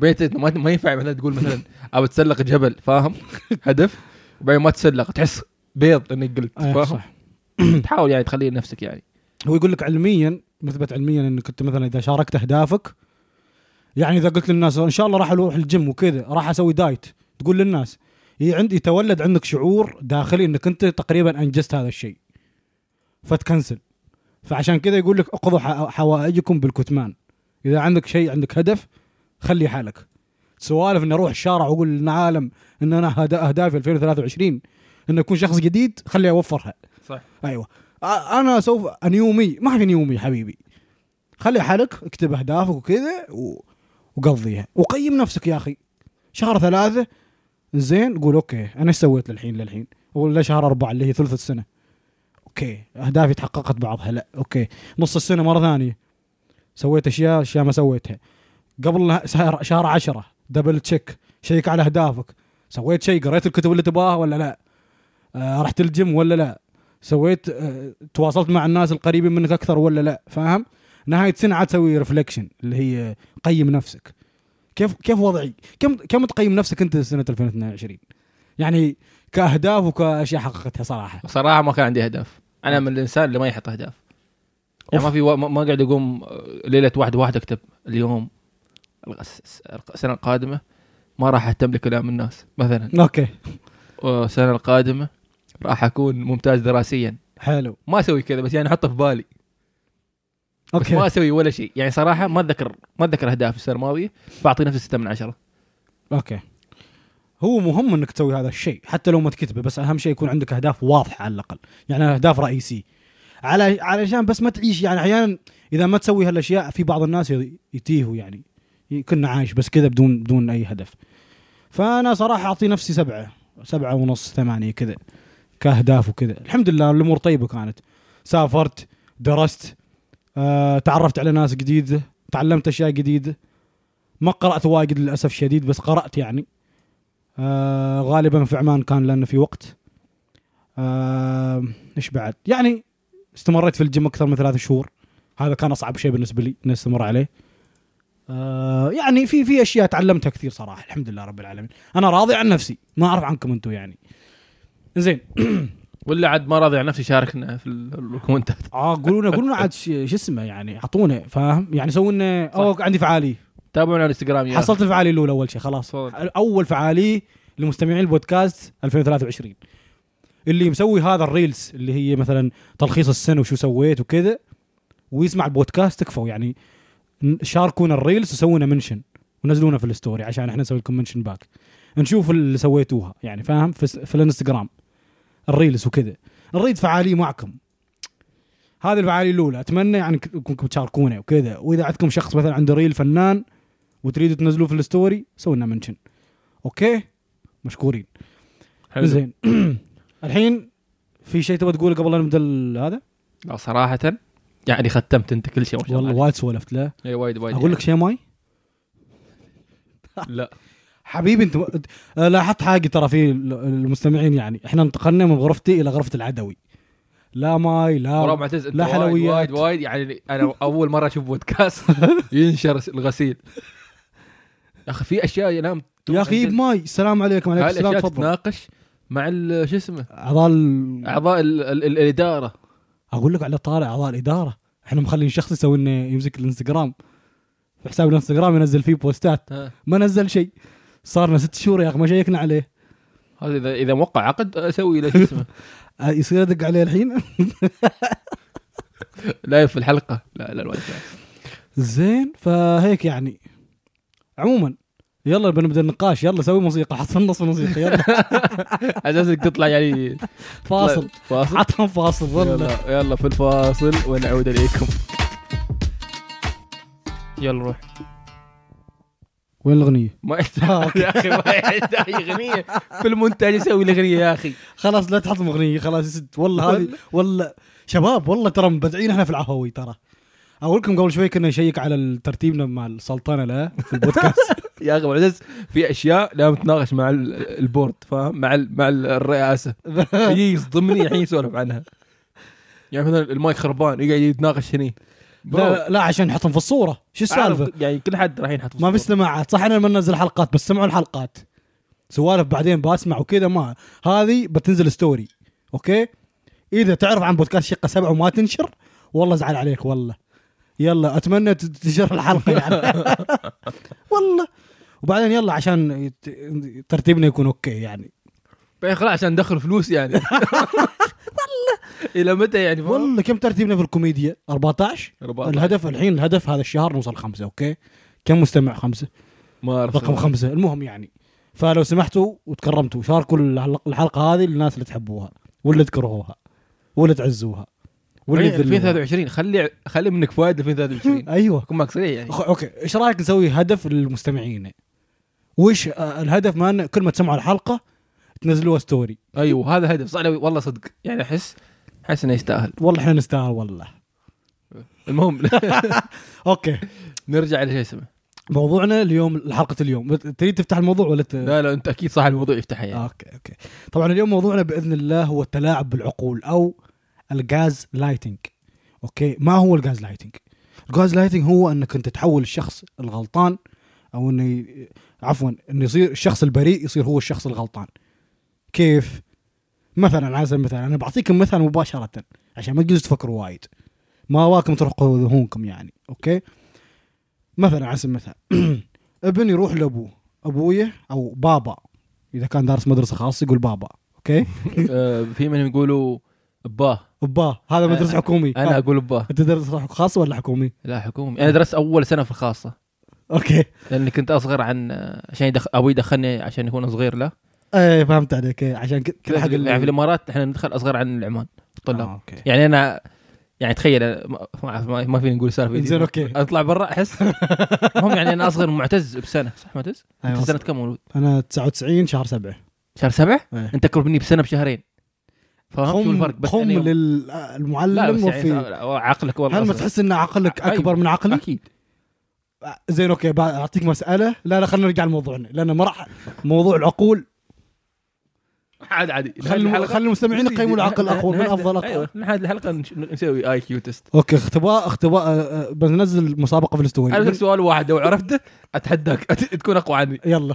[SPEAKER 2] بيت ما, ما ينفع مثلا تقول مثلا ابى اتسلق جبل فاهم هدف وبعدين ما تسلق تحس بيض انك قلت
[SPEAKER 1] آه
[SPEAKER 2] فاهم
[SPEAKER 1] صح
[SPEAKER 2] تحاول يعني تخليه لنفسك يعني
[SPEAKER 1] هو يقول لك علميا مثبت علميا انك انت مثلا اذا شاركت اهدافك يعني اذا قلت للناس ان شاء الله راح اروح الجيم وكذا راح اسوي دايت تقول للناس ي- عند يتولد عندك شعور داخلي انك انت تقريبا انجزت هذا الشيء فتكنسل فعشان كذا يقول لك اقضوا ح- حوائجكم بالكتمان اذا عندك شيء عندك هدف خلي حالك سوالف اني اروح الشارع واقول للعالم ان انا هدا- اهدافي 2023 ان اكون شخص جديد خلي اوفرها
[SPEAKER 2] صح
[SPEAKER 1] ايوه أ- انا سوف انيومي ما في نيومي حبيبي خلي حالك اكتب اهدافك وكذا و... وقضيها وقيم نفسك يا اخي شهر ثلاثة زين قول اوكي انا ايش سويت للحين للحين ولا شهر أربعة اللي هي ثلث السنة اوكي اهدافي تحققت بعضها لا اوكي نص السنة مرة ثانية سويت اشياء اشياء ما سويتها قبل نها- شهر شهر عشرة دبل تشيك شيك على اهدافك سويت شيء قريت الكتب اللي تباها ولا لا آه رحت الجيم ولا لا سويت آه، تواصلت مع الناس القريبين منك اكثر ولا لا فاهم نهايه سنه عاد تسوي ريفلكشن اللي هي قيم نفسك كيف كيف وضعي كم كم تقيم نفسك انت سنه 2022 يعني كاهداف وكاشياء حققتها صراحه
[SPEAKER 2] صراحه ما كان عندي اهداف انا من الانسان اللي ما يحط اهداف يعني ما في و... ما ما قاعد اقوم آه، ليله واحد واحد اكتب اليوم الس- الس- السنه القادمه ما راح اهتم لكلام الناس مثلا
[SPEAKER 1] اوكي
[SPEAKER 2] السنه القادمه راح اكون ممتاز دراسيا
[SPEAKER 1] حلو
[SPEAKER 2] ما اسوي كذا بس يعني احطه في بالي بس ما
[SPEAKER 1] اوكي
[SPEAKER 2] اسوي ولا شيء يعني صراحه ما اتذكر ما اتذكر اهداف السنه الماضيه فاعطي نفسي 6 من 10
[SPEAKER 1] اوكي هو مهم انك تسوي هذا الشيء حتى لو ما تكتبه بس اهم شيء يكون عندك اهداف واضحه على الاقل يعني اهداف رئيسيه على علشان بس ما تعيش يعني احيانا اذا ما تسوي هالاشياء في بعض الناس ي- يتيهوا يعني ي- كنا عايش بس كذا بدون بدون اي هدف فانا صراحه اعطي نفسي سبعه سبعه ونص ثمانيه كذا كاهداف وكذا الحمد لله الامور طيبه كانت سافرت درست آه تعرفت على ناس جديده تعلمت اشياء جديده ما قرات واجد للاسف شديد بس قرات يعني آه غالبا في عمان كان لانه في وقت آه، ايش بعد يعني استمريت في الجيم اكثر من ثلاث شهور هذا كان اصعب شيء بالنسبه لي اني استمر عليه آه يعني في في اشياء تعلمتها كثير صراحه الحمد لله رب العالمين انا راضي عن نفسي ما اعرف عنكم انتم يعني زين
[SPEAKER 2] ولا عاد ما راضي عن نفسي شاركنا في ال- الكومنتات
[SPEAKER 1] اه قولوا لنا قولوا لنا عاد ش- شو اسمه يعني اعطونا فاهم يعني سووا لنا اوه عندي فعاليه
[SPEAKER 2] تابعونا على الانستغرام يا
[SPEAKER 1] حصلت الفعاليه الاولى اول شيء خلاص
[SPEAKER 2] تفضل.
[SPEAKER 1] اول فعاليه لمستمعين البودكاست 2023 اللي مسوي هذا الريلز اللي هي مثلا تلخيص السنه وشو سويت وكذا ويسمع البودكاست تكفوا يعني ن- شاركونا الريلز وسوونا منشن ونزلونا في الستوري عشان احنا نسوي لكم منشن باك نشوف اللي سويتوها يعني فاهم في, س- في الانستغرام الريلز وكذا نريد فعاليه معكم هذه الفعاليه الاولى اتمنى يعني ك- انكم تشاركونا وكذا واذا عندكم شخص مثلا عنده ريل فنان وتريدوا تنزلوه في الستوري سووا لنا منشن اوكي مشكورين
[SPEAKER 2] حلو.
[SPEAKER 1] زين الحين في شيء تبغى تقوله قبل لا نبدا ال- هذا؟
[SPEAKER 2] لا صراحه يعني ختمت انت كل شيء ما شاء
[SPEAKER 1] والله
[SPEAKER 2] الله
[SPEAKER 1] وايد سولفت لا
[SPEAKER 2] إيه، وايد وايد
[SPEAKER 1] اقول لك شيء ماي
[SPEAKER 2] يعني. لا
[SPEAKER 1] حبيبي انت آه، لاحظت حاجه ترى في ال- المستمعين يعني احنا انتقلنا من غرفتي الى غرفه العدوي لا ماي
[SPEAKER 2] وراه
[SPEAKER 1] لا
[SPEAKER 2] معتز أنت
[SPEAKER 1] آه، لا
[SPEAKER 2] وايد-
[SPEAKER 1] حلويات.
[SPEAKER 2] وايد وايد يعني انا اول مره اشوف بودكاست ينشر الغسيل يا اخي في اشياء ينام
[SPEAKER 1] يا اخي يجيب ماي السلام عليكم عليكم السلام
[SPEAKER 2] الاشياء
[SPEAKER 1] تفضل
[SPEAKER 2] تتناقش مع ال- شو اسمه
[SPEAKER 1] اعضاء ال-
[SPEAKER 2] اعضاء ال- ال- ال- الاداره
[SPEAKER 1] اقول لك على طاري اعضاء الاداره احنا مخلين شخص يسوي انه يمسك الانستغرام في حساب الانستغرام ينزل فيه بوستات
[SPEAKER 2] ها.
[SPEAKER 1] ما نزل شيء صارنا ست شهور يا اخي ما شيكنا عليه
[SPEAKER 2] هذا اذا اذا موقع عقد اسوي له شو اسمه
[SPEAKER 1] أه، يصير ادق عليه الحين
[SPEAKER 2] لايف في الحلقه لا لا الوايد لا.
[SPEAKER 1] زين فهيك يعني عموما يلا بنبدا النقاش يلا سوي موسيقى حط في النص موسيقى يلا
[SPEAKER 2] طيب. على اساسك تطلع يعني
[SPEAKER 1] فاصل
[SPEAKER 2] فاصل
[SPEAKER 1] حطهم فاصل والله
[SPEAKER 2] يلا يلا في الفاصل ونعود اليكم يلا روح
[SPEAKER 1] وين الاغنيه؟
[SPEAKER 2] ما
[SPEAKER 1] آه،
[SPEAKER 2] يحتاج يا اخي ما يحتاج اغنيه في المونتاج يسوي الاغنيه يا اخي
[SPEAKER 1] خلاص لا تحطهم اغنيه خلاص يا ست والله هذه
[SPEAKER 2] والله.
[SPEAKER 1] والله شباب والله ترى مبدعين احنا في العفوي ترى اقول لكم قبل شوي كنا نشيك على الترتيب مع السلطنه لا في البودكاست
[SPEAKER 2] يا اخي بالعزيز في اشياء لا متناقش مع ال- البورد فاهم مع ال- مع ال- الرئاسه يجي يصدمني الحين يسولف عنها يعني مثلا المايك خربان يقعد يتناقش هني
[SPEAKER 1] لا لا عشان نحطهم في الصوره شو السالفه؟
[SPEAKER 2] أعرف يعني كل حد راح ينحط
[SPEAKER 1] ما في سماعات صح انا ما ننزل حلقات بس سمعوا الحلقات سوالف بعدين بسمع وكذا ما هذه بتنزل ستوري اوكي اذا تعرف عن بودكاست شقه سبعه وما تنشر والله زعل عليك والله يلا اتمنى ت- تنشر الحلقه يعني والله وبعدين يلا عشان يت- ترتيبنا يكون اوكي يعني
[SPEAKER 2] بعدين خلاص عشان ندخل فلوس يعني والله الى متى يعني فاهم؟
[SPEAKER 1] والله كم ترتيبنا في الكوميديا 14
[SPEAKER 2] 14.
[SPEAKER 1] الهدف الحين الهدف هذا الشهر نوصل خمسه اوكي كم مستمع خمسه
[SPEAKER 2] ما اعرف
[SPEAKER 1] رقم خمسة المهم يعني فلو سمحتوا وتكرمتوا شاركوا الحلق- الحلقة هذه للناس اللly تحبوها واللي تكرهوها واللي تعزوها واللي
[SPEAKER 2] واللي
[SPEAKER 1] تذلوها
[SPEAKER 2] 2023 خلي خلي منك فوائد 2023
[SPEAKER 1] ايوه
[SPEAKER 2] كون معك سريع يعني
[SPEAKER 1] أخ- اوكي ايش رايك نسوي هدف للمستمعين وش آه، الهدف مالنا كل ما تسمعوا الحلقة تنزلوها ستوري
[SPEAKER 2] ايوه هذا هدف صح لو- والله صدق يعني احس احس انه يستاهل
[SPEAKER 1] والله احنا نستاهل والله
[SPEAKER 2] المهم
[SPEAKER 1] اوكي
[SPEAKER 2] نرجع لشيء اسمه
[SPEAKER 1] موضوعنا اليوم حلقة اليوم بت- تريد تفتح الموضوع ولا ت...
[SPEAKER 2] لا لا انت اكيد صح الموضوع يفتحها يعني
[SPEAKER 1] اوكي اوكي طبعا اليوم موضوعنا باذن الله هو التلاعب بالعقول او الجاز لايتنج اوكي ما هو الجاز لايتنج الجاز لايتنج هو انك انت تحول الشخص الغلطان او انه ي- عفوا انه يصير الشخص البريء يصير هو الشخص الغلطان كيف مثلا على سبيل المثال انا بعطيكم مثال مباشره عشان ما تجلسوا تفكروا وايد ما واكم ترقوا ذهونكم يعني اوكي مثلا على سبيل المثال ابن يروح لابوه ابويه او بابا اذا كان دارس مدرسه خاصه يقول بابا اوكي
[SPEAKER 2] آه، في منهم يقولوا باه
[SPEAKER 1] بابا هذا مدرسه حكومي
[SPEAKER 2] انا
[SPEAKER 1] آه.
[SPEAKER 2] اقول باه
[SPEAKER 1] انت درس خاصه ولا حكومي
[SPEAKER 2] لا حكومي انا درست اول سنه في الخاصه
[SPEAKER 1] اوكي
[SPEAKER 2] لاني كنت اصغر عن آه، عشان يدخ... ابوي دخلني عشان يكون صغير له
[SPEAKER 1] ايه فهمت عليك إيه، عشان كذا كل
[SPEAKER 2] يعني
[SPEAKER 1] حق
[SPEAKER 2] في
[SPEAKER 1] ال-
[SPEAKER 2] الامارات احنا ندخل اصغر عن العمان الطلاب
[SPEAKER 1] آه، اوكي
[SPEAKER 2] يعني انا يعني تخيل أنا ما- ما أعرف- ما ما فيني نقول سالفه دي.
[SPEAKER 1] زين اوكي
[SPEAKER 2] اطلع برا احس المهم يعني انا اصغر من معتز بسنه صح معتز؟
[SPEAKER 1] أيوة،
[SPEAKER 2] انت سنه كم مولود؟
[SPEAKER 1] انا 99 شهر 7
[SPEAKER 2] شهر سبع؟
[SPEAKER 1] إيه.
[SPEAKER 2] انت اكبر مني بسنه بشهرين فاهم آه، شو
[SPEAKER 1] خم
[SPEAKER 2] الفرق
[SPEAKER 1] بس خم
[SPEAKER 2] أنا يوم- لا بس
[SPEAKER 1] للمعلم
[SPEAKER 2] يعني
[SPEAKER 1] وفي
[SPEAKER 2] عقلك والله
[SPEAKER 1] هل ما
[SPEAKER 2] أصغر.
[SPEAKER 1] تحس ان عقلك
[SPEAKER 2] أيوة.
[SPEAKER 1] اكبر من عقلي؟ آه،
[SPEAKER 2] اكيد آه.
[SPEAKER 1] زين اوكي بع- اعطيك مساله لا لا خلينا نرجع لموضوعنا لان ما راح موضوع العقول
[SPEAKER 2] عادي عادي
[SPEAKER 1] خلوا خلوا المستمعين
[SPEAKER 2] إيه،
[SPEAKER 1] يقيموا العقل الاقوى من افضل اقوى
[SPEAKER 2] ايوه نحن هذه الحلقه نش- نسوي اي كيو تيست
[SPEAKER 1] اوكي اختباء اختباء آه، آه، بنزل مسابقه في
[SPEAKER 2] انا
[SPEAKER 1] الاستوري
[SPEAKER 2] سؤال واحد لو عرفته اتحداك أت- تكون اقوى عني
[SPEAKER 1] يلا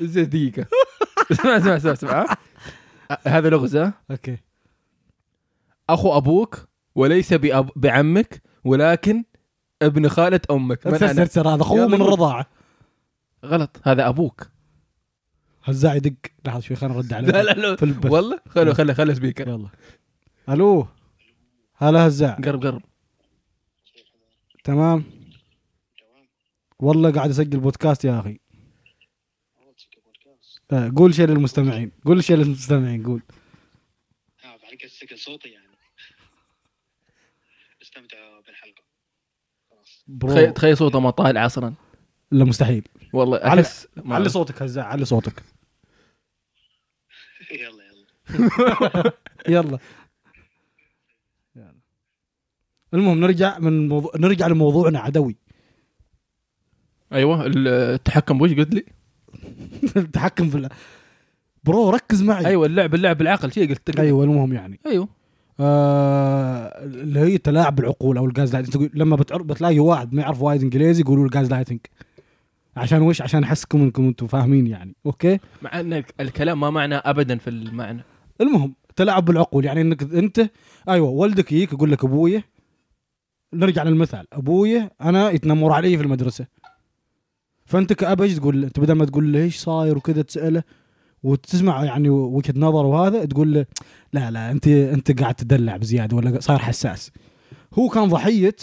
[SPEAKER 2] زين دقيقه اسمع اسمع اسمع اسمع ها؟ أ- هذا لغز ها؟
[SPEAKER 1] اوكي
[SPEAKER 2] اخو ابوك وليس بأب... بعمك ولكن ابن خاله امك
[SPEAKER 1] سر
[SPEAKER 2] من
[SPEAKER 1] سر
[SPEAKER 2] أنا؟
[SPEAKER 1] سر هذا خوه من
[SPEAKER 2] يلا.
[SPEAKER 1] الرضاعه
[SPEAKER 2] غلط هذا ابوك
[SPEAKER 1] هزاع يدق لحظه شوي خلينا نرد عليه
[SPEAKER 2] لا لا لا
[SPEAKER 1] في البث
[SPEAKER 2] والله خلو خلو خلو سبيكر
[SPEAKER 1] يلا الو هلا هزاع
[SPEAKER 2] قرب قرب
[SPEAKER 1] تمام والله قاعد اسجل بودكاست يا اخي آه، قول شيء للمستمعين قول شيء للمستمعين قول
[SPEAKER 3] اه بعد كده سكن صوتي يعني استمتعوا بالحلقه خلاص
[SPEAKER 2] تخيل-
[SPEAKER 1] برو
[SPEAKER 2] تخيل صوته ما طالع اصلا
[SPEAKER 1] لا مستحيل
[SPEAKER 2] والله
[SPEAKER 1] علي-
[SPEAKER 2] احس ما-
[SPEAKER 1] علي صوتك هزاع علي صوتك
[SPEAKER 3] يلا يلا
[SPEAKER 1] يلا المهم نرجع من موضوع نرجع لموضوعنا عدوي
[SPEAKER 2] ايوه التحكم بوش قلت لي
[SPEAKER 1] التحكم في الع- برو ركز معي
[SPEAKER 2] ايوه اللعب اللعب بالعقل شيء قلت لك
[SPEAKER 1] ايوه المهم يعني
[SPEAKER 2] ايوه
[SPEAKER 1] آه، اللي هي تلاعب العقول او الجاز لايتنج لما بتعر... بتلاقي واحد ما يعرف وايد انجليزي يقولوا له جاز لايتنج عشان وش عشان احسكم انكم انتم فاهمين يعني اوكي
[SPEAKER 2] مع ان الك- الكلام ما معناه ابدا في المعنى
[SPEAKER 1] المهم تلاعب بالعقول يعني انك انت ايوه والدك يجيك يقول لك ابويا نرجع للمثال ابويا انا يتنمر علي في المدرسه فانت كاب ايش تقول له؟ انت بدل ما تقول له ايش صاير وكذا تساله وتسمع يعني وجهه نظر وهذا تقول له لا لا انت انت قاعد تدلع بزياده ولا صاير حساس هو كان ضحيه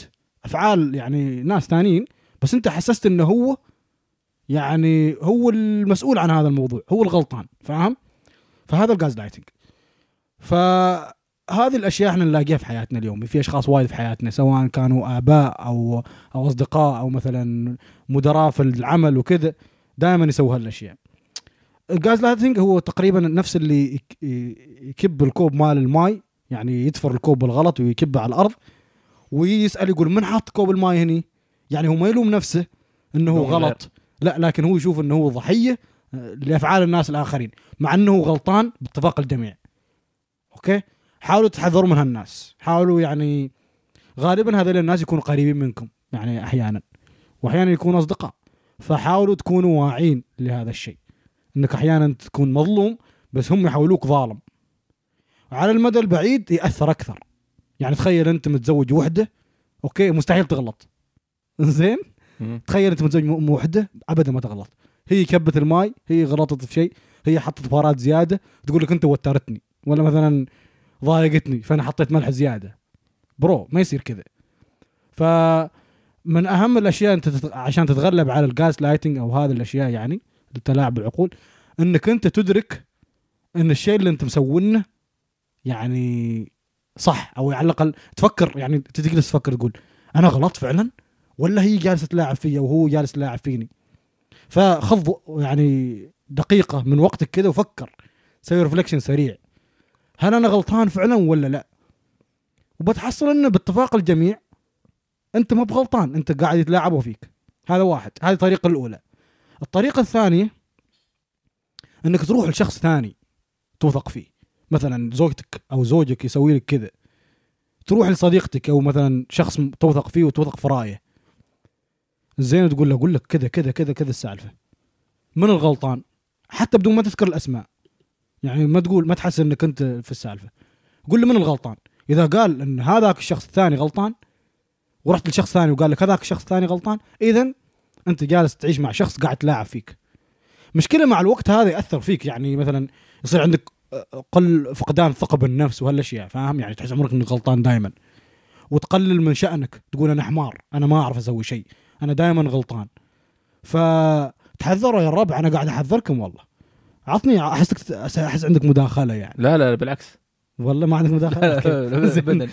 [SPEAKER 1] افعال يعني ناس ثانيين بس انت حسست انه هو يعني هو المسؤول عن هذا الموضوع هو الغلطان فاهم فهذا الجاز لايتنج فهذه الاشياء احنا نلاقيها في حياتنا اليوم في اشخاص وايد في حياتنا سواء كانوا اباء او او اصدقاء او مثلا مدراء في العمل وكذا دائما يسووا هالاشياء الجاز لايتنج هو تقريبا نفس اللي يك- يكب الكوب مال الماي يعني يدفر الكوب بالغلط ويكبه على الارض ويسال يقول من حط كوب الماي هني يعني هو ما يلوم نفسه انه هو
[SPEAKER 2] هو غير.
[SPEAKER 1] غلط لا لكن هو يشوف انه هو ضحيه آه، لافعال الناس الاخرين مع انه هو غلطان باتفاق الجميع اوكي حاولوا تحذروا من هالناس حاولوا يعني غالبا هذول الناس يكونوا قريبين منكم يعني احيانا واحيانا يكونوا اصدقاء فحاولوا تكونوا واعين لهذا الشيء انك احيانا تكون مظلوم بس هم يحولوك ظالم على المدى البعيد ياثر اكثر يعني تخيل انت متزوج وحده اوكي مستحيل تغلط زين تخيل انت متزوج ام وحده ابدا ما تغلط هي كبت الماي هي غلطت في شيء هي حطت بهارات زياده تقول لك انت وترتني ولا مثلا ضايقتني فانا حطيت ملح زياده برو ما يصير كذا فمن اهم الاشياء انت تتغ... عشان تتغلب على الجاز لايتنج او هذه الاشياء يعني التلاعب بالعقول انك انت تدرك ان الشيء اللي انت مسوينه يعني صح او على الاقل تفكر يعني تجلس تفكر تقول انا غلط فعلا ولا هي جالسه تلاعب فيا وهو جالس يلاعب فيني فخذ يعني دقيقه من وقتك كذا وفكر سوي ريفلكشن سريع هل انا غلطان فعلا ولا لا وبتحصل انه باتفاق الجميع انت ما بغلطان انت قاعد يتلاعبوا فيك هذا واحد هذه الطريقه الاولى الطريقه الثانيه انك تروح لشخص ثاني توثق فيه مثلا زوجتك او زوجك يسوي لك كذا تروح لصديقتك او مثلا شخص توثق فيه وتوثق في رايه زين تقول له اقول لك كذا كذا كذا كذا السالفه من الغلطان حتى بدون ما تذكر الاسماء يعني ما تقول ما تحس انك انت في السالفه قول له من الغلطان اذا قال ان هذاك الشخص الثاني غلطان ورحت لشخص ثاني وقال لك هذاك الشخص الثاني غلطان اذا انت جالس تعيش مع شخص قاعد تلاعب فيك مشكله مع الوقت هذا ياثر فيك يعني مثلا يصير عندك آه، قل فقدان ثقه بالنفس وهالاشياء فاهم يعني تحس عمرك انك غلطان دائما وتقلل من شانك تقول انا حمار انا ما اعرف اسوي شيء انا دائما غلطان فتحذروا يا الربع انا قاعد احذركم والله عطني احسك احس عندك مداخله يعني
[SPEAKER 2] لا لا لا، بالعكس
[SPEAKER 1] والله ما عندك
[SPEAKER 2] لا لا،
[SPEAKER 1] مداخله
[SPEAKER 2] لا، لا،
[SPEAKER 1] زين.
[SPEAKER 2] ابدا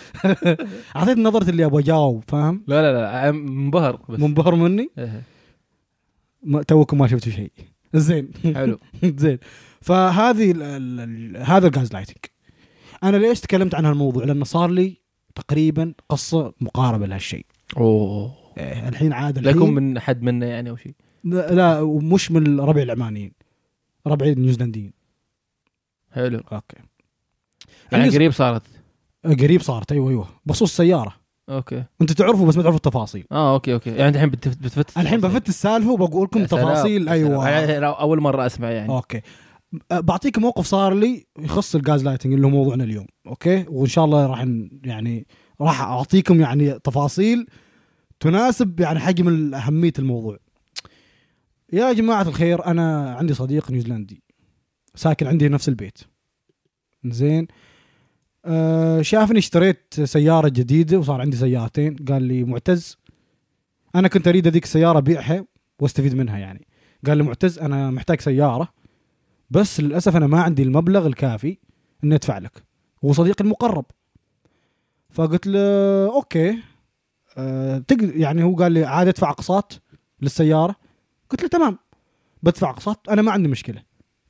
[SPEAKER 1] اعطيت نظره اللي ابغى اجاوب فاهم
[SPEAKER 2] لا لا لا أنا منبهر بس
[SPEAKER 1] منبهر مني
[SPEAKER 2] إيه،
[SPEAKER 1] ما توكم ما شفتوا شيء زين
[SPEAKER 2] حلو
[SPEAKER 1] زين فهذه ال ال ال هذا الجاز لايتنج انا ليش تكلمت عن هالموضوع لانه صار لي تقريبا قصه مقاربه لهالشيء
[SPEAKER 2] اوه
[SPEAKER 1] إيه، الحين عاد
[SPEAKER 2] لا
[SPEAKER 1] الحين
[SPEAKER 2] يكون من حد منا يعني او شيء
[SPEAKER 1] لا, لا ومش من الربع العمانيين ربع النيوزيلنديين
[SPEAKER 2] حلو
[SPEAKER 1] اوكي
[SPEAKER 2] يعني
[SPEAKER 1] عندي-
[SPEAKER 2] قريب صارت
[SPEAKER 1] قريب صارت ايوه ايوه بخصوص السياره
[SPEAKER 2] اوكي
[SPEAKER 1] انت تعرفوا بس ما تعرفوا التفاصيل
[SPEAKER 2] اه اوكي اوكي يعني الحين بتف- بتفتش
[SPEAKER 1] الحين بفت السالفه وبقول لكم
[SPEAKER 2] يا سلام،
[SPEAKER 1] تفاصيل آه.
[SPEAKER 2] يا
[SPEAKER 1] ايوه
[SPEAKER 2] سلام. يعني أنا اول مره اسمع يعني
[SPEAKER 1] اوكي أ- أه، بعطيك موقف صار لي يخص الجاز لايتنج اللي هو موضوعنا اليوم اوكي وان شاء الله راح ن- يعني راح اعطيكم يعني تفاصيل تناسب يعني حجم ال- اهميه الموضوع يا جماعه الخير انا عندي صديق نيوزيلندي ساكن عندي نفس البيت زين آه شافني اشتريت سياره جديده وصار عندي سيارتين قال لي معتز انا كنت اريد هذيك السياره بيعها واستفيد منها يعني قال لي معتز انا محتاج سياره بس للاسف انا ما عندي المبلغ الكافي اني ادفع لك هو صديقي المقرب فقلت له اوكي أه تقدر يعني هو قال لي عاد ادفع اقساط للسياره قلت له تمام بدفع اقساط انا ما عندي مشكله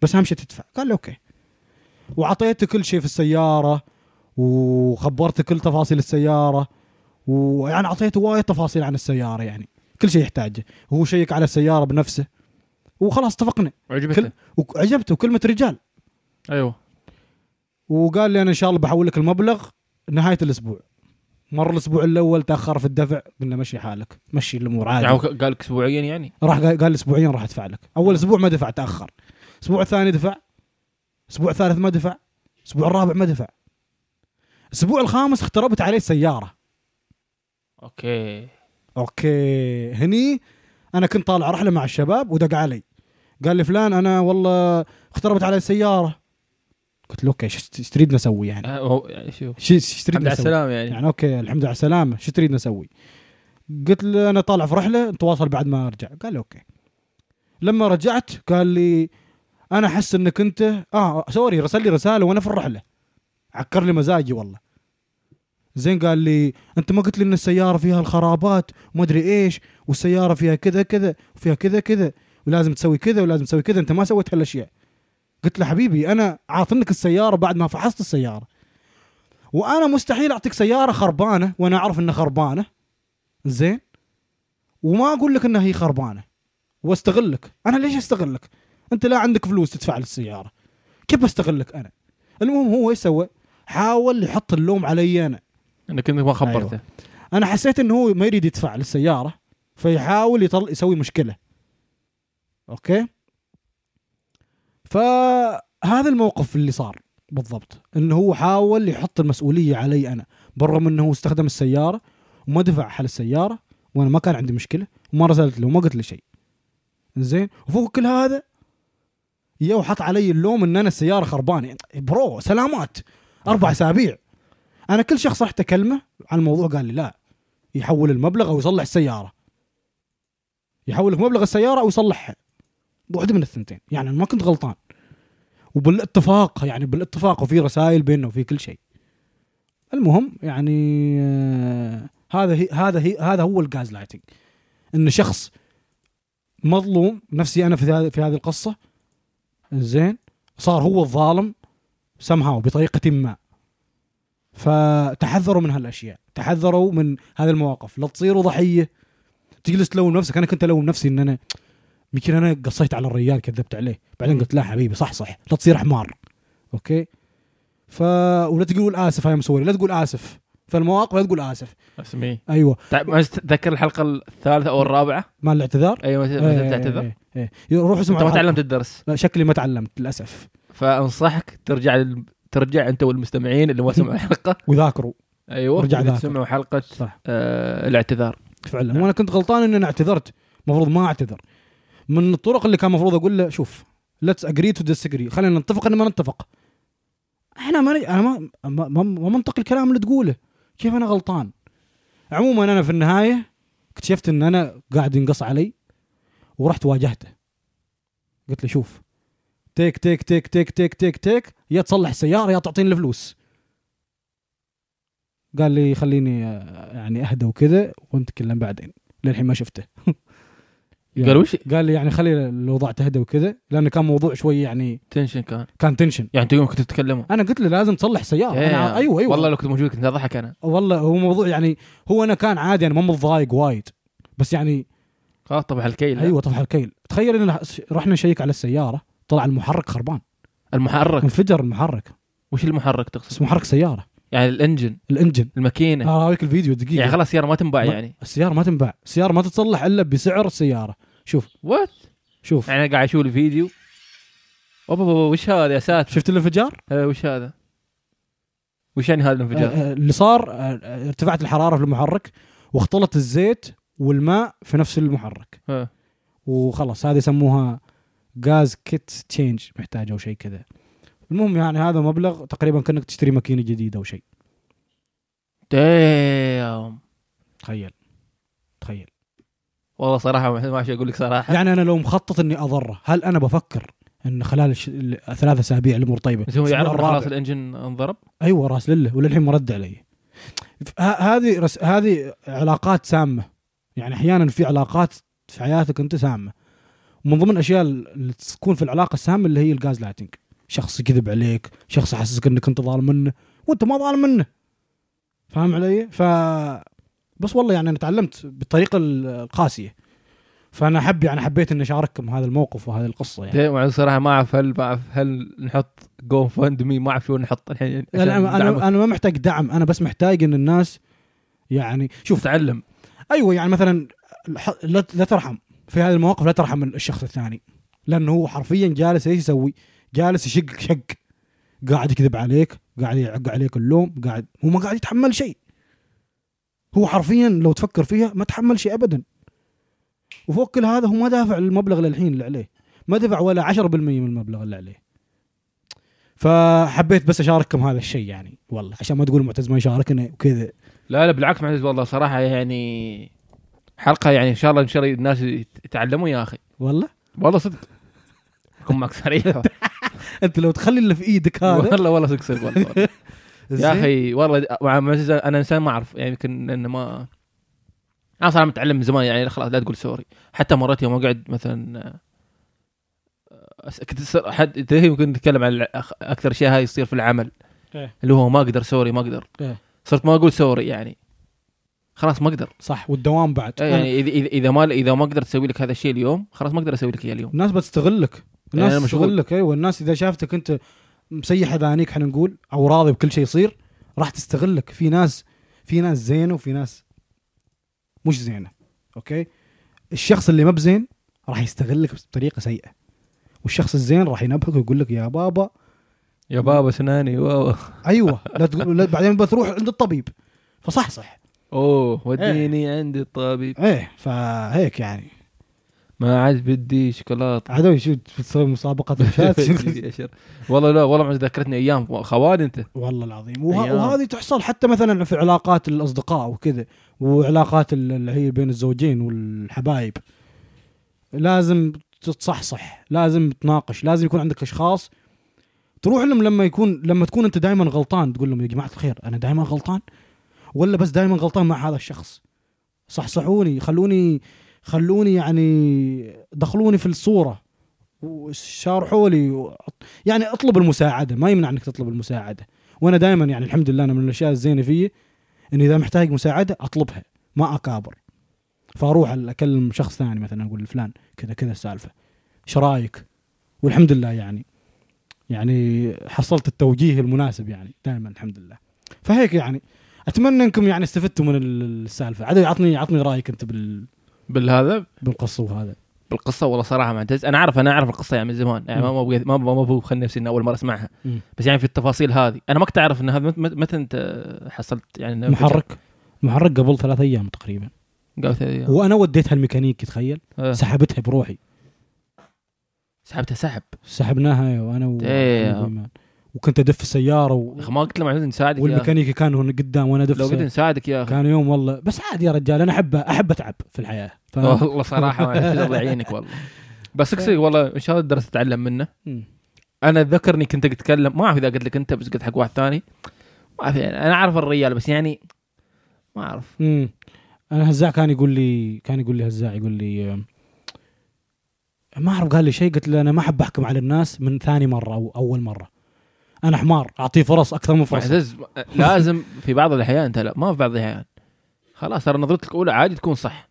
[SPEAKER 1] بس اهم شيء تدفع قال لي اوكي وعطيته كل شيء في السياره وخبرته كل تفاصيل السياره ويعني اعطيته وايد تفاصيل عن السياره يعني كل شيء يحتاجه هو شيك على السياره بنفسه وخلاص اتفقنا كل أيوة.
[SPEAKER 2] عجبتك
[SPEAKER 1] وعجبته كلمه رجال
[SPEAKER 2] ايوه
[SPEAKER 1] وقال لي انا ان شاء الله بحول لك المبلغ نهايه الاسبوع مر الاسبوع الاول تاخر في الدفع قلنا مشي حالك مشي الامور عادي
[SPEAKER 2] يعني هو قال لك اسبوعيا يعني
[SPEAKER 1] راح قال قال اسبوعين راح ادفع لك اول اسبوع ما دفع تاخر اسبوع ثاني دفع اسبوع ثالث ما دفع اسبوع الرابع ما دفع الاسبوع الخامس اختربت عليه سياره
[SPEAKER 2] اوكي
[SPEAKER 1] اوكي هني انا كنت طالع رحله مع الشباب ودق علي قال لي فلان انا والله اختربت علي السياره قلت له اوكي شو شو تريدنا نسوي يعني
[SPEAKER 2] آه، هو- يعني شوف
[SPEAKER 1] شو شو
[SPEAKER 2] الحمد
[SPEAKER 1] تريدنا
[SPEAKER 2] على
[SPEAKER 1] نسوي
[SPEAKER 2] السلامه يعني
[SPEAKER 1] يعني اوكي الحمد لله على السلامه شو تريد نسوي؟ قلت له انا طالع في رحله نتواصل بعد ما ارجع قال لي اوكي لما رجعت قال لي انا احس انك انت اه سوري رسل لي رساله وانا في الرحله عكر لي مزاجي والله زين قال لي انت ما قلت لي ان السياره فيها الخرابات وما ادري ايش والسياره فيها كذا كذا وفيها كذا كذا ولازم تسوي كذا ولازم تسوي كذا انت ما سويت هالاشياء قلت له حبيبي انا عاطنك السياره بعد ما فحصت السياره وانا مستحيل اعطيك سياره خربانه وانا اعرف انها خربانه زين وما اقول لك انها هي خربانه واستغلك انا ليش استغلك انت لا عندك فلوس تدفع للسياره كيف استغلك انا المهم هو ايش سوى حاول يحط اللوم علي انا
[SPEAKER 2] انك
[SPEAKER 1] أيوة.
[SPEAKER 2] انت ما خبرته
[SPEAKER 1] انا حسيت انه هو ما يريد يدفع للسياره فيحاول يطل يسوي مشكله اوكي فهذا الموقف اللي صار بالضبط انه هو حاول يحط المسؤوليه علي انا بالرغم انه هو استخدم السياره وما دفع حل السياره وانا ما كان عندي مشكله وما رسلت له وما قلت له شيء زين وفوق كل هذا يا وحط علي اللوم ان انا السياره خربانه برو سلامات اربع اسابيع انا كل شخص رحت اكلمه عن الموضوع قال لي لا يحول المبلغ او يصلح السياره يحول لك مبلغ السياره او يصلحها واحده من الثنتين يعني أنا ما كنت غلطان وبالاتفاق يعني بالاتفاق وفي رسائل بيننا وفي كل شيء المهم يعني آه، هذا هي هذا هي هذا هو الجاز لايتنج ان شخص مظلوم نفسي انا في هذه في هذه القصه زين صار هو الظالم somehow بطريقه ما فتحذروا من هالاشياء تحذروا من هذه المواقف لا تصيروا ضحيه تجلس تلوم نفسك انا كنت الوم نفسي ان انا يمكن انا قصيت على الرجال كذبت عليه بعدين قلت لا حبيبي صح صح لا تصير حمار اوكي ف ولا تقول اسف يا مسوري لا تقول اسف فالمواقف لا تقول اسف
[SPEAKER 2] اسمي
[SPEAKER 1] ايوه
[SPEAKER 2] طيب ما تتذكر الحلقه الثالثه او الرابعه
[SPEAKER 1] مال الاعتذار
[SPEAKER 2] اي متى متى تعتذر
[SPEAKER 1] إيه، إيه، إيه. روح اسمع
[SPEAKER 2] انت ما
[SPEAKER 1] الحلقة.
[SPEAKER 2] تعلمت الدرس
[SPEAKER 1] لا، شكلي ما تعلمت للاسف
[SPEAKER 2] فانصحك ترجع لل... ترجع انت والمستمعين اللي ما سمعوا الحلقه
[SPEAKER 1] وذاكروا
[SPEAKER 2] ايوه
[SPEAKER 1] ارجع
[SPEAKER 2] اللي
[SPEAKER 1] ذاكر.
[SPEAKER 2] سمعوا حلقه
[SPEAKER 1] صح.
[SPEAKER 2] آه الاعتذار
[SPEAKER 1] فعلا وانا كنت غلطان ان انا اعتذرت المفروض ما اعتذر من الطرق اللي كان المفروض اقول له شوف ليتس اجري تو disagree خلينا نتفق ان ما نتفق احنا ما انا ما ما- ما ما منطق الكلام اللي تقوله كيف انا غلطان عموما انا في النهايه اكتشفت ان انا قاعد ينقص علي ورحت واجهته قلت له شوف تيك تيك تيك تيك تيك تيك تيك يا تصلح السياره يا تعطيني الفلوس قال لي خليني آه، يعني اهدى وكذا ونتكلم بعدين للحين ما شفته يعني-
[SPEAKER 2] قال وش
[SPEAKER 1] قال لي يعني خلي الوضع تهدى وكذا لانه كان موضوع شوي يعني
[SPEAKER 2] تنشن كان
[SPEAKER 1] كان تنشن
[SPEAKER 2] يعني انتوا يوم كنتوا تتكلموا
[SPEAKER 1] انا قلت له لازم تصلح سياره أنا
[SPEAKER 2] يا.
[SPEAKER 1] ايوه ايوه
[SPEAKER 2] إيه. والله لو كنت موجود كنت اضحك انا
[SPEAKER 1] والله هو موضوع يعني هو انا كان عادي انا ما متضايق وايد بس يعني
[SPEAKER 2] خلاص طبعا الكيل
[SPEAKER 1] ايوه طفح الكيل تخيل ان رحنا نشيك على السياره طلع المحرك خربان
[SPEAKER 2] المحرك
[SPEAKER 1] انفجر المحرك
[SPEAKER 2] وش المحرك تقصد
[SPEAKER 1] بس محرك سياره
[SPEAKER 2] يعني الانجن
[SPEAKER 1] الانجن
[SPEAKER 2] الماكينه
[SPEAKER 1] اراويك الفيديو دقيقه
[SPEAKER 2] يعني خلاص سياره ما تنباع
[SPEAKER 1] آه، ما-
[SPEAKER 2] يعني
[SPEAKER 1] السياره ما تنباع السياره ما تتصلح الا بسعر السياره شوف
[SPEAKER 2] وات
[SPEAKER 1] شوف
[SPEAKER 2] يعني أنا قاعد اشوف الفيديو اوبا أوبا، وش هذا يا ساتر
[SPEAKER 1] شفت الانفجار
[SPEAKER 2] آه، وش هذا وش يعني هذا الانفجار
[SPEAKER 1] آه، آه، اللي صار آه، آه، ارتفعت الحراره في المحرك واختلط الزيت والماء في نفس المحرك
[SPEAKER 2] آه.
[SPEAKER 1] وخلاص هذه يسموها غاز كيت تشينج محتاج او شيء كذا المهم يعني هذا مبلغ تقريبا كانك تشتري ماكينه جديده او شيء
[SPEAKER 2] دايم
[SPEAKER 1] تخيل تخيل
[SPEAKER 2] والله صراحه ما ما أدري اقول لك صراحه
[SPEAKER 1] يعني انا لو مخطط اني اضره هل انا بفكر ان خلال الش... ثلاث اسابيع الامور طيبه
[SPEAKER 2] بس هو
[SPEAKER 1] الأسبوع
[SPEAKER 2] يعرف إن
[SPEAKER 1] الرابع-
[SPEAKER 2] خلاص الانجن انضرب
[SPEAKER 1] ايوه راس لله وللحين ما رد علي ف- ه- هذه رس... هذه علاقات سامه يعني احيانا في علاقات في حياتك انت سامه ومن ضمن الاشياء اللي تكون في العلاقه السامه اللي هي الجاز لايتنج شخص يكذب عليك شخص يحسسك انك انت ظالم منه وانت ما ظالم منه فاهم علي ف بس والله يعني انا تعلمت بالطريقه ال- القاسيه فانا حب يعني حبيت اني اشارككم هذا الموقف وهذه القصه يعني
[SPEAKER 2] دايم يعني صراحه ما اعرف هل ما اعرف هل نحط جو فاند مي ما اعرف شو نحط الحين
[SPEAKER 1] لا،
[SPEAKER 2] عشان
[SPEAKER 1] انا
[SPEAKER 2] ندعمه.
[SPEAKER 1] انا انا ما محتاج دعم انا بس محتاج ان الناس يعني شوف
[SPEAKER 2] تعلم
[SPEAKER 1] ايوه يعني مثلا الح- لا لا ترحم في هذه المواقف لا ترحم الشخص الثاني لانه هو حرفيا جالس ايش يسوي؟ جالس يشق شق قاعد يكذب عليك قاعد يعق عليك اللوم قاعد هو ما قاعد يتحمل شيء هو حرفيا لو تفكر فيها ما تحمل شيء ابدا وفوق كل هذا هو ما دافع المبلغ للحين اللي عليه ما دفع ولا 10% من المبلغ اللي عليه فحبيت بس اشارككم هذا الشيء يعني والله عشان ما تقول معتز ما يشاركنا وكذا
[SPEAKER 2] لا لا بالعكس معلش والله صراحه يعني حلقه يعني ان شاء الله ان شاء الله الناس يتعلموا يا اخي
[SPEAKER 1] والله
[SPEAKER 2] والله صدق اكون معك صريح
[SPEAKER 1] انت لو تخلي اللي في ايدك هذا
[SPEAKER 2] والله والله صدق صدق والله والله. يا
[SPEAKER 1] زين.
[SPEAKER 2] اخي والله مع معزز انا انسان ما اعرف يعني يمكن انه ما انا صراحه متعلم من زمان يعني خلاص لا تقول سوري حتى مرات يوم اقعد مثلا آه، أس- كنت أس- حد تدري يمكن نتكلم عن الع- أخ- اكثر شيء هاي يصير في العمل
[SPEAKER 1] إيه.
[SPEAKER 2] اللي هو ما اقدر سوري ما اقدر
[SPEAKER 1] إيه.
[SPEAKER 2] صرت ما اقول سوري يعني خلاص ما اقدر
[SPEAKER 1] صح والدوام بعد
[SPEAKER 2] إيه، يعني إذا- اذا اذا ما اذا ما قدرت اسوي لك هذا الشيء اليوم خلاص ما اقدر اسوي لك اياه اليوم
[SPEAKER 1] الناس بتستغلك الناس
[SPEAKER 2] إيه، أنا مشغول.
[SPEAKER 1] بتستغلك ايوه الناس اذا شافتك انت مسيح اذانيك احنا نقول او راضي بكل شيء يصير راح تستغلك في ناس في ناس زينه وفي ناس مش زينه اوكي الشخص اللي ما بزين راح يستغلك بطريقه سيئه والشخص الزين راح ينبهك ويقول لك يا بابا
[SPEAKER 2] يا بابا سناني واو
[SPEAKER 1] ايوه لا تقول لا بعدين بتروح عند الطبيب فصح صح
[SPEAKER 2] اوه وديني عند الطبيب
[SPEAKER 1] ايه فهيك يعني
[SPEAKER 2] ما عاد بدي شوكولاته
[SPEAKER 1] عدوي شو بتسوي مسابقه الشات
[SPEAKER 2] والله لا والله معز ذكرتني ايام خوالي انت
[SPEAKER 1] والله العظيم وه...
[SPEAKER 2] أيام.
[SPEAKER 1] وهذه تحصل حتى مثلا في علاقات الاصدقاء وكذا وعلاقات ال- اللي هي بين الزوجين والحبايب لازم تتصحصح لازم تناقش لازم يكون عندك اشخاص تروح لهم لما يكون لما تكون انت دائما غلطان تقول لهم يا جماعه الخير انا دائما غلطان ولا بس دائما غلطان مع هذا الشخص صحصحوني خلوني خلوني يعني دخلوني في الصوره وشارحوا لي و- يعني اطلب المساعده ما يمنع انك تطلب المساعده وانا دائما يعني الحمد لله انا من الاشياء الزينه فيي اني اذا محتاج مساعده اطلبها ما اكابر فاروح اكلم شخص ثاني مثلا اقول لفلان كذا كذا السالفه ايش رايك؟ والحمد لله يعني يعني حصلت التوجيه المناسب يعني دائما الحمد لله فهيك يعني اتمنى انكم يعني استفدتوا من ال- السالفه عاد عطني عطني رايك انت بال
[SPEAKER 2] بالهذا
[SPEAKER 1] بالقصه وهذا
[SPEAKER 2] بالقصه والله صراحه معتز انا اعرف انا اعرف القصه يعني من زمان يعني ما ما بقيت- ما ما ما بخلي نفسي اني اول مره اسمعها
[SPEAKER 1] مم.
[SPEAKER 2] بس يعني في التفاصيل هذه انا ما كنت اعرف ان هذا مت- مت- متى انت حصلت يعني إنه
[SPEAKER 1] محرك محرك قبل ثلاث ايام تقريبا
[SPEAKER 2] فجأة- قالت لي،
[SPEAKER 1] وانا وديتها الميكانيكي تخيل
[SPEAKER 2] آه،
[SPEAKER 1] سحبتها بروحي
[SPEAKER 2] سحبتها سحب
[SPEAKER 1] سحبناها ايوه انا و...
[SPEAKER 2] Damn.
[SPEAKER 1] وإيمان. وكنت ادف السياره و...
[SPEAKER 2] يا اخي ما قلت له معتز نساعدك يا أخي.
[SPEAKER 1] والميكانيكي كان هنا قدام وانا ادف
[SPEAKER 2] لو قلت
[SPEAKER 1] السيارة.
[SPEAKER 2] نساعدك يا اخي
[SPEAKER 1] كان يوم والله بس عادي يا رجال انا احب احب اتعب في الحياه ف...
[SPEAKER 2] والله صراحه معتز الله يعينك والله بس اقصد والله ان شاء الله درست اتعلم منه
[SPEAKER 1] مم.
[SPEAKER 2] انا اتذكر اني كنت اتكلم ما اعرف اذا قلت لك انت بس قلت حق واحد ثاني ما اعرف يعني انا اعرف الرجال بس يعني ما اعرف
[SPEAKER 1] مم. انا هزاع كان يقول لي كان يقول لي هزاع يقول لي آم، ما اعرف قال لي شيء قلت له انا ما احب احكم على الناس من ثاني مره او اول مره انا حمار اعطيه فرص اكثر من فرصه
[SPEAKER 2] معتز لازم في بعض الاحيان انت لا ما في بعض الاحيان خلاص ترى نظرتك الاولى عادي تكون صح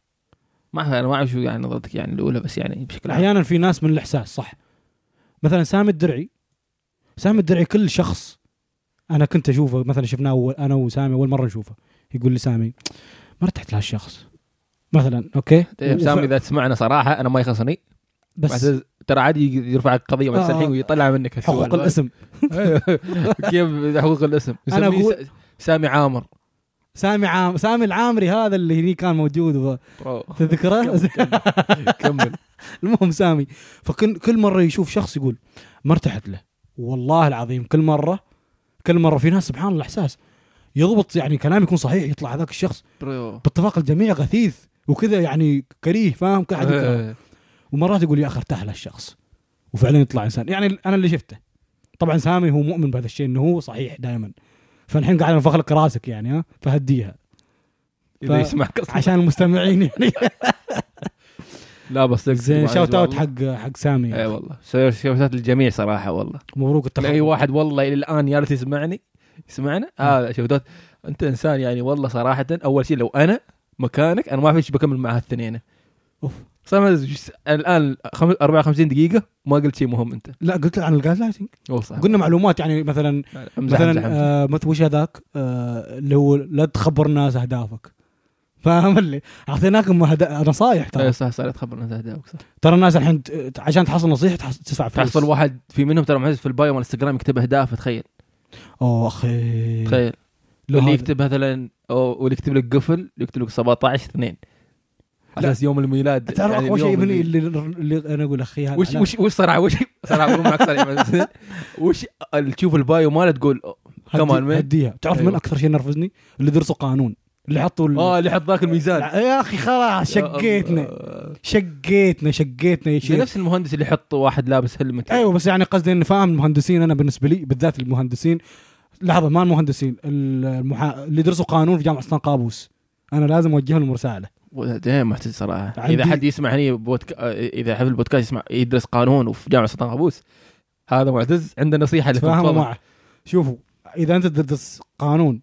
[SPEAKER 2] ما أعرف- انا ما اعرف شو يعني نظرتك يعني الاولى بس يعني بشكل عام
[SPEAKER 1] احيانا في ناس من الاحساس صح مثلا سامي الدرعي سامي الدرعي كل شخص انا كنت اشوفه مثلا شفناه اول انا وسامي اول مره نشوفه يقول لي سامي ما ارتحت لهالشخص مثلا اوكي
[SPEAKER 2] طيب
[SPEAKER 1] وف-
[SPEAKER 2] سامي اذا تسمعنا صراحه انا ما يخصني
[SPEAKER 1] بس
[SPEAKER 2] معتز ترى عادي يرفع قضيه بس
[SPEAKER 1] آه.
[SPEAKER 2] الحين ويطلع منك السؤال.
[SPEAKER 1] حقوق الاسم
[SPEAKER 2] كيف حقوق الاسم
[SPEAKER 1] أنا
[SPEAKER 2] يسميه
[SPEAKER 1] أقول-
[SPEAKER 2] س- سامي عامر
[SPEAKER 1] سامي عام سامي العامري هذا اللي هني كان موجود و-
[SPEAKER 2] أوه.
[SPEAKER 1] تذكره
[SPEAKER 2] كمل
[SPEAKER 1] المهم سامي فكل كل مره يشوف شخص يقول ما ارتحت له والله العظيم كل مره كل مره في ناس سبحان الله احساس يضبط يعني كلام يكون صحيح يطلع هذاك الشخص
[SPEAKER 2] برو
[SPEAKER 1] باتفاق الجميع غثيث وكذا يعني كريه فاهم كل أحد يكرهه.
[SPEAKER 2] آه.
[SPEAKER 1] ومرات يقول يا اخي ارتاح للشخص وفعلا يطلع انسان يعني انا اللي شفته طبعا سامي هو مؤمن بهذا الشيء انه هو صحيح دائما فالحين قاعد انفخلك راسك يعني ها فهديها
[SPEAKER 2] اذا
[SPEAKER 1] ف-
[SPEAKER 2] يسمعك أصلاً.
[SPEAKER 1] عشان المستمعين يعني
[SPEAKER 2] لا بس
[SPEAKER 1] زين شاوت اوت حق حق سامي
[SPEAKER 2] اي
[SPEAKER 1] يعني.
[SPEAKER 2] إيه، والله شوتات الجميع صراحه والله
[SPEAKER 1] مبروك التخرج
[SPEAKER 2] اي واحد والله الى الان يا ريت يسمعني يسمعنا هذا آه شوتات انت انسان يعني والله صراحه اول شيء لو انا مكانك انا ما في شيء بكمل مع هالثنين
[SPEAKER 1] أوف.
[SPEAKER 2] صار ما أدري وش- الان خم- 54 دقيقه ما قلت شيء مهم انت
[SPEAKER 1] لا قلت عن الجاز لايتنج
[SPEAKER 2] والله صح
[SPEAKER 1] قلنا معلومات يعني مثلا مثلا
[SPEAKER 2] مثلا
[SPEAKER 1] آه، مثل وش هذاك آه، اللي هو لا تخبر الناس اهدافك فاهم اللي اعطيناكم هدا- نصايح ترى
[SPEAKER 2] إيه، صح صار تخبرنا هذا داوك صح
[SPEAKER 1] ترى الناس الحين ت- ت- عشان تحصل نصيحه تحص- تدفع فلوس
[SPEAKER 2] تحصل واحد في منهم ترى معز في البايو مال انستغرام يكتب اهداف تخيل
[SPEAKER 1] إيه. اوه اخي
[SPEAKER 2] تخيل
[SPEAKER 1] لا هذا.
[SPEAKER 2] واللي يكتب مثلا أو- واللي يكتب لك قفل يكتب لك 17 2 على
[SPEAKER 1] لا.
[SPEAKER 2] اساس يوم الميلاد
[SPEAKER 1] تعرف
[SPEAKER 2] يعني
[SPEAKER 1] اقوى شيء
[SPEAKER 2] اليوم
[SPEAKER 1] من
[SPEAKER 2] اللي-
[SPEAKER 1] اللي, اللي انا اقول اخي هذا
[SPEAKER 2] وش
[SPEAKER 1] لا.
[SPEAKER 2] وش وش صراحه وش صراحه بقول معك صراحه وش اللي تشوف البايو ماله تقول
[SPEAKER 1] هدي-
[SPEAKER 2] كمان من-
[SPEAKER 1] هديها تعرف
[SPEAKER 2] أيوة.
[SPEAKER 1] من اكثر شيء نرفزني اللي درسوا قانون اللي حطوا ال-
[SPEAKER 2] اه اللي حط ذاك الميزان
[SPEAKER 1] لا، يا اخي خلاص شقيتنا
[SPEAKER 2] آه.
[SPEAKER 1] شقيتنا شقيتنا يا
[SPEAKER 2] زي
[SPEAKER 1] شيخ
[SPEAKER 2] نفس المهندس اللي يحط واحد لابس هلمت
[SPEAKER 1] ايوه بس يعني قصدي اني فاهم المهندسين انا بالنسبه لي بالذات المهندسين لحظه ما المهندسين المحا... اللي درسوا قانون في جامعه سلطان قابوس انا لازم اوجه لهم رساله
[SPEAKER 2] دائما محتاج صراحه
[SPEAKER 1] عندي-
[SPEAKER 2] اذا حد يسمع هني بودك... آه، اذا حفل البودكاست يسمع يدرس قانون وفي جامعه سلطان قابوس هذا معتز عنده نصيحه لكم
[SPEAKER 1] تفاهموا
[SPEAKER 2] تفضل.
[SPEAKER 1] معه شوفوا اذا انت تدرس قانون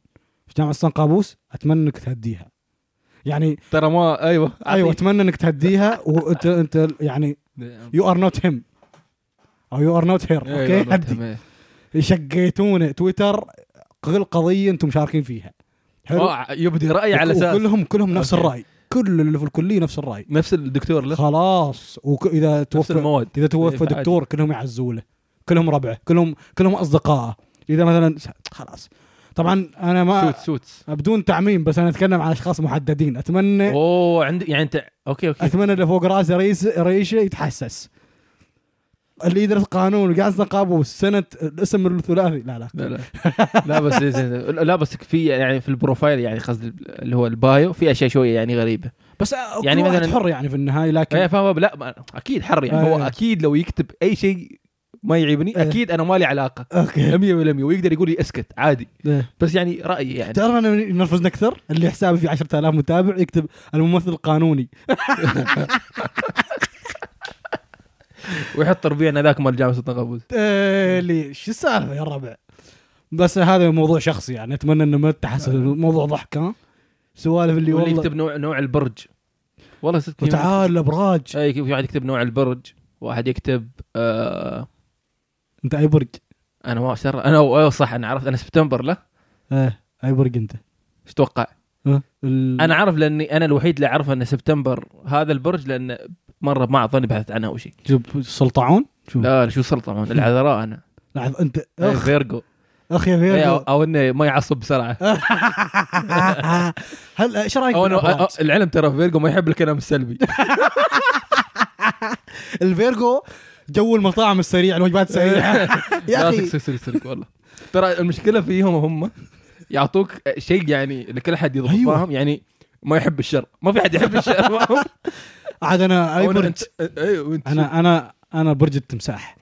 [SPEAKER 1] في جامعه سلطان قابوس اتمنى انك تهديها يعني
[SPEAKER 2] ترى ما ايوه
[SPEAKER 1] ايوه اتمنى انك تهديها وانت انت يعني يو ار نوت هيم او يو ار نوت هير اوكي هدي
[SPEAKER 2] اوكي
[SPEAKER 1] شقيتونا تويتر كل قضيه انتم شاركين فيها حلو
[SPEAKER 2] آه، يبدي راي على اساس
[SPEAKER 1] كلهم كلهم نفس
[SPEAKER 2] أوكي.
[SPEAKER 1] الراي كل اللي في الكليه نفس الراي
[SPEAKER 2] نفس الدكتور له
[SPEAKER 1] خلاص واذا
[SPEAKER 2] نفس
[SPEAKER 1] توفى
[SPEAKER 2] المواد
[SPEAKER 1] اذا توفى
[SPEAKER 2] فعادي.
[SPEAKER 1] دكتور كلهم يعزوا له كلهم ربعه كلهم كلهم اصدقائه اذا مثلا خلاص طبعا انا ما
[SPEAKER 2] سوت سوتس
[SPEAKER 1] بدون تعميم بس انا اتكلم عن اشخاص محددين اتمنى
[SPEAKER 2] اوه عندي يعني انت اوكي اوكي
[SPEAKER 1] اتمنى اللي فوق راسه رئيس رئيسه يتحسس اللي يدرس قانون وقاعد قابوس سنه الاسم الثلاثي لا لا
[SPEAKER 2] لا لا لا بس زين- زين. لا بس في يعني في البروفايل يعني قصدي اللي هو البايو في اشياء شويه يعني غريبه
[SPEAKER 1] بس يعني
[SPEAKER 2] يعني
[SPEAKER 1] مثلا
[SPEAKER 2] مثلاً-
[SPEAKER 1] حر يعني في النهايه
[SPEAKER 2] ايه
[SPEAKER 1] لكن
[SPEAKER 2] فاهم لا ما- اكيد حر يعني هو
[SPEAKER 1] إيه.
[SPEAKER 2] اكيد لو يكتب اي شيء ما يعيبني
[SPEAKER 1] إيه.
[SPEAKER 2] اكيد انا مالي علاقه 100%
[SPEAKER 1] اوكي
[SPEAKER 2] ويقدر يقول لي اسكت عادي
[SPEAKER 1] إيه.
[SPEAKER 2] بس يعني رايي يعني
[SPEAKER 1] تعرف انا من- ينرفزني اكثر اللي حسابي فيه 10000 متابع يكتب الممثل القانوني
[SPEAKER 2] ويحط ربيعنا ذاك مال جامعه سلطان قابوس
[SPEAKER 1] إيه، اللي شو السالفه يا الربع بس هذا موضوع شخصي يعني اتمنى انه ما تحسس الموضوع ضحك ها سوالف اللي
[SPEAKER 2] واللي
[SPEAKER 1] والله
[SPEAKER 2] يكتب نوع نوع البرج والله صدق
[SPEAKER 1] وتعال الابراج
[SPEAKER 2] اي في واحد يكتب نوع البرج واحد يكتب آه
[SPEAKER 1] انت اي برج
[SPEAKER 2] انا ما شر انا أو أو صح انا عرفت انا سبتمبر له
[SPEAKER 1] ايه اي برج انت
[SPEAKER 2] ايش توقع؟
[SPEAKER 1] ها؟ ال-
[SPEAKER 2] انا عارف لاني انا الوحيد اللي اعرفه ان سبتمبر هذا البرج لان مره ما اظن بحثت عنها او شيء
[SPEAKER 1] جب سلطعون شوف
[SPEAKER 2] لا شو سلطه العذراء انا
[SPEAKER 1] لحظة انت
[SPEAKER 2] أي
[SPEAKER 1] اخ
[SPEAKER 2] فيرجو
[SPEAKER 1] اخ يا
[SPEAKER 2] أي او,
[SPEAKER 1] فيرجو آه،
[SPEAKER 2] أو انه ما يعصب بسرعه
[SPEAKER 1] هل ايش رايك
[SPEAKER 2] او انه
[SPEAKER 1] بالأبراج؟
[SPEAKER 2] العلم ترى فيرجو ما يحب الكلام السلبي
[SPEAKER 1] الفيرجو جو المطاعم السريع الوجبات السريعه يا
[SPEAKER 2] أه. لا
[SPEAKER 1] اخي
[SPEAKER 2] تكسر سلك سلك والله ترى المشكله فيهم هم يعطوك شيء يعني لكل حد يضبط
[SPEAKER 1] أيوة.
[SPEAKER 2] فاهم يعني ما يحب الشر ما في حد يحب الشر فاهم
[SPEAKER 1] عاد انا اي
[SPEAKER 2] أو إنه
[SPEAKER 1] برج
[SPEAKER 2] أنت- أيوة، وأنت-
[SPEAKER 1] انا انا انا برج التمساح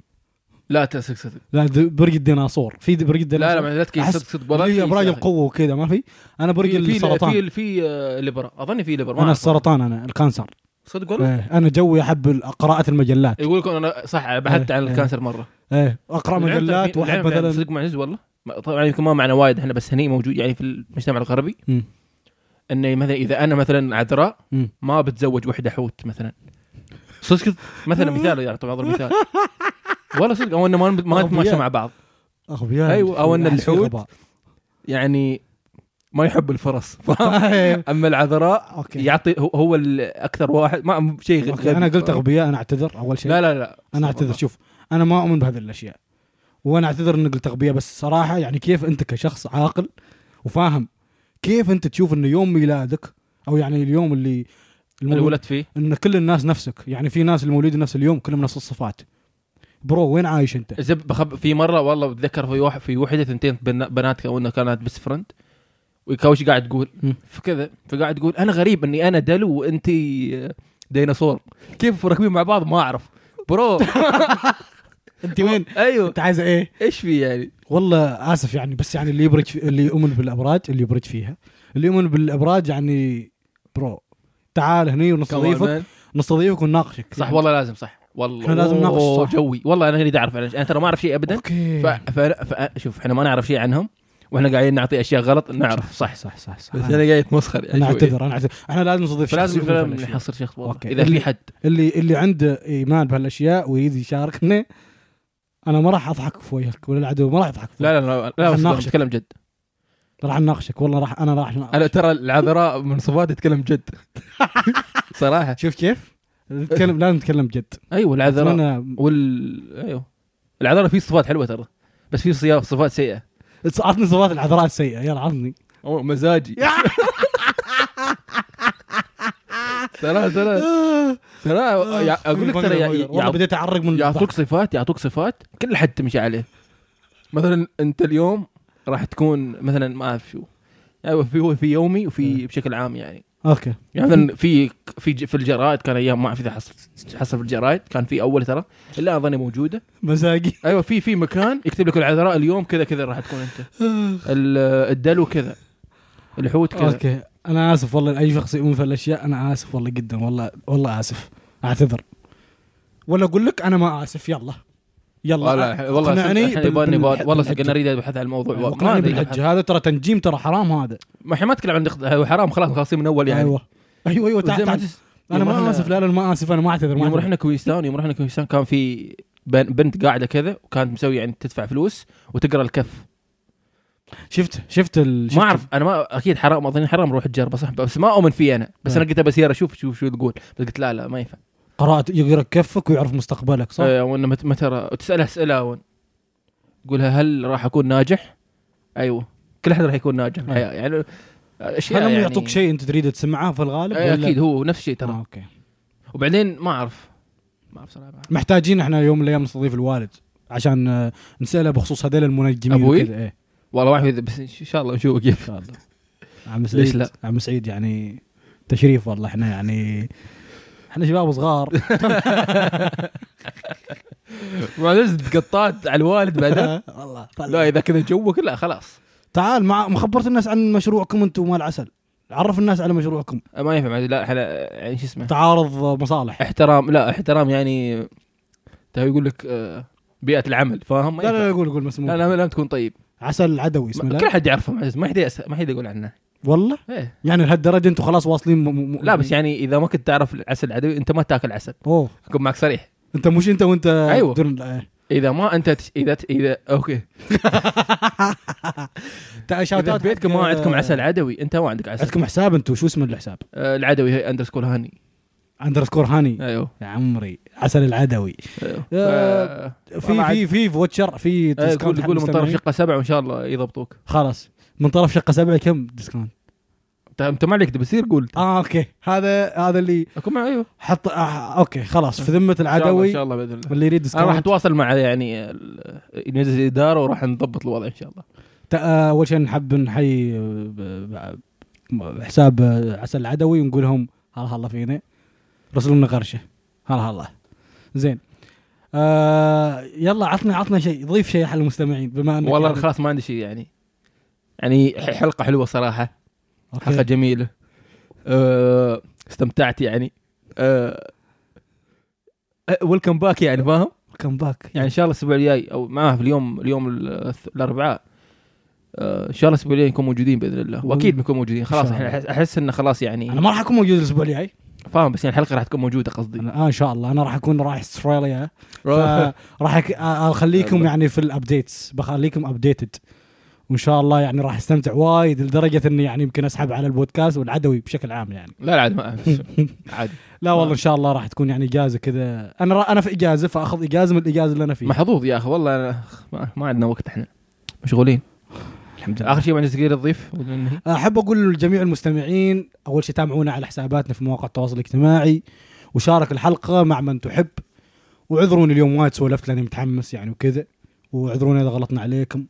[SPEAKER 2] لا تسك صدق
[SPEAKER 1] لا د- برج الديناصور في د- برج
[SPEAKER 2] لا لا
[SPEAKER 1] الديناصور
[SPEAKER 2] ما- لا تكيس
[SPEAKER 1] أحس-
[SPEAKER 2] صدق صدق والله
[SPEAKER 1] لا
[SPEAKER 2] تكيس
[SPEAKER 1] ابراج
[SPEAKER 2] يا أخي.
[SPEAKER 1] القوه وكذا ما في انا برج
[SPEAKER 2] في- في-
[SPEAKER 1] السرطان
[SPEAKER 2] في في آه، ليبرا اظن في ليبرا ما
[SPEAKER 1] انا
[SPEAKER 2] أعرف.
[SPEAKER 1] السرطان انا الكانسر
[SPEAKER 2] صدق والله
[SPEAKER 1] إيه، انا جوي احب ال- قراءه المجلات
[SPEAKER 2] يقول لكم انا صح بحثت
[SPEAKER 1] إيه،
[SPEAKER 2] عن
[SPEAKER 1] إيه.
[SPEAKER 2] الكانسر مره
[SPEAKER 1] إيه، اقرا
[SPEAKER 2] العلم ترى
[SPEAKER 1] مجلات
[SPEAKER 2] في-
[SPEAKER 1] واحب
[SPEAKER 2] العلم يعني
[SPEAKER 1] مثلا
[SPEAKER 2] صدق معز والله ما- طبعا يمكن ما معنا وايد احنا بس هني موجود يعني في المجتمع الغربي
[SPEAKER 1] مم.
[SPEAKER 2] انه مثلا اذا انا مثلا عذراء
[SPEAKER 1] مم.
[SPEAKER 2] ما بتزوج وحده حوت مثلا صدق مثلا مثال يعني طبعا اضرب مثال والله صدق او انه ما ما نتماشى مع بعض
[SPEAKER 1] اغبياء
[SPEAKER 2] أيوة، أو إن
[SPEAKER 1] أحس في
[SPEAKER 2] الحوت.
[SPEAKER 1] غباء.
[SPEAKER 2] يعني ما يحب الفرص فاهم؟
[SPEAKER 1] إيه،
[SPEAKER 2] اما العذراء
[SPEAKER 1] اوكي
[SPEAKER 2] يعطي هو- هو الاكثر واحد ما شيء غ-
[SPEAKER 1] أوكي،
[SPEAKER 2] غبي
[SPEAKER 1] انا قلت اغبياء انا اعتذر اول شيء
[SPEAKER 2] لا لا لا
[SPEAKER 1] انا اعتذر شوف انا ما اؤمن بهذه الاشياء وانا اعتذر اني قلت اغبياء بس صراحه يعني كيف انت كشخص عاقل وفاهم كيف انت تشوف انه يوم ميلادك او يعني اليوم اللي
[SPEAKER 2] اللي
[SPEAKER 1] المولود
[SPEAKER 2] ولدت فيه
[SPEAKER 1] ان كل الناس نفسك يعني في ناس المولودين نفس اليوم كلهم نفس الصفات برو وين عايش انت
[SPEAKER 2] زب بخب في مره والله بتذكر في واحد في وحده ثنتين بنا- بنات كونها كانت بس فرند وكوش قاعد تقول
[SPEAKER 1] مم.
[SPEAKER 2] فكذا فقاعد تقول انا غريب اني انا دلو وانت ديناصور كيف راكبين مع بعض ما اعرف برو
[SPEAKER 1] انت وين
[SPEAKER 2] ايوه
[SPEAKER 1] انت عايز ايه
[SPEAKER 2] ايش في يعني
[SPEAKER 1] والله اسف يعني بس يعني اللي يبرج اللي يؤمن بالابراج اللي يبرج فيها اللي يؤمن بالابراج يعني برو تعال هني ونستضيفك
[SPEAKER 2] كمان.
[SPEAKER 1] نستضيفك ونناقشك
[SPEAKER 2] صح والله لازم صح والله
[SPEAKER 1] يعني. إحنا لازم نناقش
[SPEAKER 2] أوه،
[SPEAKER 1] صح.
[SPEAKER 2] يعني، جوي والله انا اريد اعرف انا أنا ترى ما اعرف شيء ابدا
[SPEAKER 1] اوكي
[SPEAKER 2] ف... ف... ف... شوف احنا ما نعرف شيء عنهم واحنا قاعدين نعطي اشياء غلط نعرف صح
[SPEAKER 1] صح صح صح
[SPEAKER 4] بس انا قاعد اتمسخر يعني
[SPEAKER 1] انا
[SPEAKER 4] شوي.
[SPEAKER 1] اعتذر انا اعتذر احنا لازم نستضيف
[SPEAKER 2] فلازم
[SPEAKER 1] شخص يؤمن
[SPEAKER 2] فلازم
[SPEAKER 1] بهالأشياء.
[SPEAKER 2] نحصر شخص واضح
[SPEAKER 1] أوكي.
[SPEAKER 2] اذا في حد
[SPEAKER 1] اللي اللي عنده ايمان بهالاشياء ويريد يشاركنا انا ما راح اضحك في وجهك ولا العدو ما راح يضحك في
[SPEAKER 2] لا لا لا لا بس
[SPEAKER 1] نناقشك. آه،
[SPEAKER 2] نتكلم جد
[SPEAKER 1] وجهك. راح اناقشك والله راح انا راح
[SPEAKER 4] انا
[SPEAKER 1] أناقشك.
[SPEAKER 4] ترى العذراء من صفاتي تتكلم جد صراحه
[SPEAKER 1] شوف كيف؟ نتكلم لازم نتكلم جد
[SPEAKER 2] ايوه العذراء
[SPEAKER 1] أتمنى-
[SPEAKER 2] وال ايوه العذراء في صفات حلوه ترى بس في صياف صفات سيئه
[SPEAKER 1] عطني صفات العذراء السيئه يلا عطني
[SPEAKER 4] أو مزاجي ترى ترى
[SPEAKER 2] آه،
[SPEAKER 1] آه،
[SPEAKER 4] ترى يع- اقول لك ترى يع- يع-
[SPEAKER 1] والله بديت اعرق من
[SPEAKER 2] يعطوك صفات يعطوك صفات كل حد تمشي عليه مثلا انت اليوم راح تكون مثلا ما اعرف شو ايوه في هو في يومي
[SPEAKER 1] إيه.
[SPEAKER 2] وفي بشكل عام يعني
[SPEAKER 1] اوكي
[SPEAKER 2] يعني مثلا في في ج- في الجرائد كان ايام ما اعرف اذا حصل حصل في الجرائد كان في اول ترى الا اظني موجوده
[SPEAKER 1] مزاجي
[SPEAKER 2] ايوه في في مكان يكتب لك العذراء اليوم كذا كذا راح تكون انت ال- الدلو كذا الحوت كذا
[SPEAKER 1] اوكي انا اسف والله لاي شخص يؤمن في الاشياء انا اسف والله جدا والله والله اسف اعتذر ولا اقول لك انا ما اسف يلا يلا
[SPEAKER 4] والله- والله
[SPEAKER 1] اقنعني
[SPEAKER 2] الحين
[SPEAKER 1] بال-
[SPEAKER 2] يبغالني
[SPEAKER 1] بالح-
[SPEAKER 2] بال- والله
[SPEAKER 1] بالحجة.
[SPEAKER 2] صدق نريد ابحث عن الموضوع ما
[SPEAKER 1] اقنعني
[SPEAKER 2] أدري
[SPEAKER 1] بالحج هذا ترى تنجيم ترى حرام هذا
[SPEAKER 2] ما احنا ما نتكلم عن دخ- هو حرام خلاص خلاصين من اول يعني
[SPEAKER 1] ايوه ايوه ايوه تعال
[SPEAKER 2] وزي ما
[SPEAKER 1] تعال
[SPEAKER 2] تس-
[SPEAKER 1] انا
[SPEAKER 2] يوم
[SPEAKER 1] ما
[SPEAKER 2] رحنا-
[SPEAKER 1] اسف لا لا ما اسف انا ما اعتذر ما
[SPEAKER 2] يوم
[SPEAKER 1] أعتذر.
[SPEAKER 2] رحنا كويستان يوم رحنا كويستان كان في بن- بنت قاعده كذا وكانت مسوي يعني تدفع فلوس وتقرا الكف
[SPEAKER 1] شفت شفت ال... شفت-
[SPEAKER 2] ما اعرف انا ما اكيد حرام اظن حرام روح تجربه صح بس ما اؤمن فيه انا بس انا قلت بسير اشوف شوف شو تقول بس قلت لا لا ما ينفع
[SPEAKER 1] قراءة يقرا كفك ويعرف مستقبلك صح؟
[SPEAKER 2] آه، وانه مت- متى را- تسالها اسئله وين تقولها هل راح اكون ناجح؟ ايوه كل احد راح يكون ناجح في الحياه يعني آه، اشياء
[SPEAKER 1] أيوه. هل هم
[SPEAKER 2] يعني
[SPEAKER 1] يعطوك شيء انت تريد تسمعه في الغالب؟
[SPEAKER 2] آه،
[SPEAKER 1] ولا-
[SPEAKER 2] اكيد هو نفس الشيء
[SPEAKER 1] آه،
[SPEAKER 2] ترى
[SPEAKER 1] اوكي
[SPEAKER 2] وبعدين ما اعرف ما اعرف صراحه
[SPEAKER 1] محتاجين احنا يوم من الايام نستضيف الوالد عشان آه، نساله بخصوص هذيل المنجمين
[SPEAKER 2] أبوي؟
[SPEAKER 1] وكذا، ايه
[SPEAKER 2] والله ما اعرف إذا- بس ان شاء الله نشوف كيف
[SPEAKER 1] ان شاء الله عم سعيد
[SPEAKER 2] ليش لا؟
[SPEAKER 1] عم سعيد يعني تشريف والله احنا يعني احنا شباب صغار
[SPEAKER 2] معلش تقطعت على الوالد بعدين
[SPEAKER 1] والله
[SPEAKER 2] لا اذا كذا جوك لا خلاص
[SPEAKER 1] تعال مع مخبرت الناس عن مشروعكم انتم مال عسل عرف الناس على مشروعكم
[SPEAKER 2] ما ينفع معلش، لا احنا يعني شو اسمه
[SPEAKER 1] تعارض مصالح
[SPEAKER 2] احترام لا احترام يعني تبي يقول لك آه، بيئه العمل فاهم ما
[SPEAKER 1] لا لا
[SPEAKER 2] ينفع.
[SPEAKER 1] لا قول قول مسموح
[SPEAKER 2] لا لا لازم تكون طيب
[SPEAKER 1] عسل عدوي اسمه
[SPEAKER 2] ما- كل
[SPEAKER 1] لا
[SPEAKER 2] حد يعرفه معلش، ما حد يأس- ما حد يقول عنه
[SPEAKER 1] والله
[SPEAKER 2] إيه.
[SPEAKER 1] يعني لهالدرجه انتم خلاص واصلين م... م... م-
[SPEAKER 2] لا بس يعني اذا ما كنت تعرف العسل العدوي انت ما تاكل عسل
[SPEAKER 1] اوه
[SPEAKER 2] اكون معك صريح
[SPEAKER 1] انت مش انت وانت
[SPEAKER 2] أيوة.
[SPEAKER 1] بدون- إيه.
[SPEAKER 2] اذا ما انت تش... اذا ت- اذا اوكي
[SPEAKER 1] تا-
[SPEAKER 2] اذا
[SPEAKER 1] شاتات
[SPEAKER 2] في بيتكم ما
[SPEAKER 1] حق-
[SPEAKER 2] عندكم عسل عدوي انت ما عندك عسل
[SPEAKER 1] عندكم حساب انتم شو اسم الحساب؟
[SPEAKER 2] آه، العدوي هي اندرسكول هاني
[SPEAKER 1] اندرسكور هاني
[SPEAKER 2] ايوه
[SPEAKER 1] يا عمري عسل العدوي
[SPEAKER 2] ايوه
[SPEAKER 1] آه،
[SPEAKER 2] ف-
[SPEAKER 1] في
[SPEAKER 2] والله عاد-
[SPEAKER 1] في في فوتشر في
[SPEAKER 2] آه،
[SPEAKER 1] ديسكاونت
[SPEAKER 2] قول
[SPEAKER 1] حق
[SPEAKER 2] قول من طرف
[SPEAKER 1] المستمعين.
[SPEAKER 2] شقه سبعه وان شاء الله يضبطوك
[SPEAKER 1] خلاص من طرف شقه سبعه كم ديسكاونت؟
[SPEAKER 2] انت انت ما عليك بيصير قول
[SPEAKER 1] اه اوكي هذا هذا اللي
[SPEAKER 2] اكون معي ايوه
[SPEAKER 1] حط آه اوكي خلاص في ذمه
[SPEAKER 2] أه. إن شاء الله- ان
[SPEAKER 1] العدوي
[SPEAKER 2] شاء الله باذن الله
[SPEAKER 1] اللي يريد
[SPEAKER 2] انا راح
[SPEAKER 1] ديسكاونت
[SPEAKER 2] اتواصل مع يعني ال- مجلس الاداره وراح نضبط الوضع ان شاء الله
[SPEAKER 1] تا- آه، اول شيء نحب نحيي آه، ب- ب- حساب آه، عسل العدوي ونقول لهم هلا هلا فينا رسلوا لنا غرشه هلا هلا زين آه يلا عطنا عطنا شيء ضيف شيء على المستمعين بما انك
[SPEAKER 2] والله
[SPEAKER 1] يعني-
[SPEAKER 2] خلاص ما عندي شيء يعني يعني ح- حلقه حلوه صراحه
[SPEAKER 1] أوكي.
[SPEAKER 2] حلقه جميله أه استمتعت يعني ويلكم باك يعني فاهم
[SPEAKER 1] كم باك
[SPEAKER 2] يعني ان شاء الله الاسبوع الجاي او ما اعرف اليوم اليوم ال- الاربعاء أه، ان شاء الله الاسبوع الجاي نكون موجودين باذن الله واكيد بنكون موجودين خلاص
[SPEAKER 1] إن شاء
[SPEAKER 2] احنا
[SPEAKER 1] الله.
[SPEAKER 2] أحس- احس انه خلاص يعني
[SPEAKER 1] انا ما راح اكون موجود الاسبوع الجاي
[SPEAKER 2] فاهم بس يعني الحلقه راح تكون موجوده قصدي
[SPEAKER 1] أنا- آه ان شاء الله انا راح اكون رايح استراليا فراح أك- آه، اخليكم يعني في الابديتس بخليكم ابديتد وان شاء الله يعني راح استمتع وايد لدرجه اني يعني يمكن اسحب على البودكاست والعدوي بشكل عام يعني
[SPEAKER 2] لا لا عاد ما عادي
[SPEAKER 1] لا والله ان شاء الله راح تكون يعني اجازه كذا انا را انا في اجازه فاخذ اجازه من الاجازه اللي انا فيها
[SPEAKER 2] محظوظ يا اخي والله أنا ما, ما عندنا وقت احنا مشغولين
[SPEAKER 1] الحمد
[SPEAKER 2] اخر شيء ما عندنا تقدر تضيف وننهي.
[SPEAKER 1] احب اقول لجميع المستمعين اول شيء تابعونا على حساباتنا في مواقع التواصل الاجتماعي وشارك الحلقه مع من تحب واعذروني اليوم وايد سولفت لاني متحمس يعني وكذا واعذروني اذا غلطنا عليكم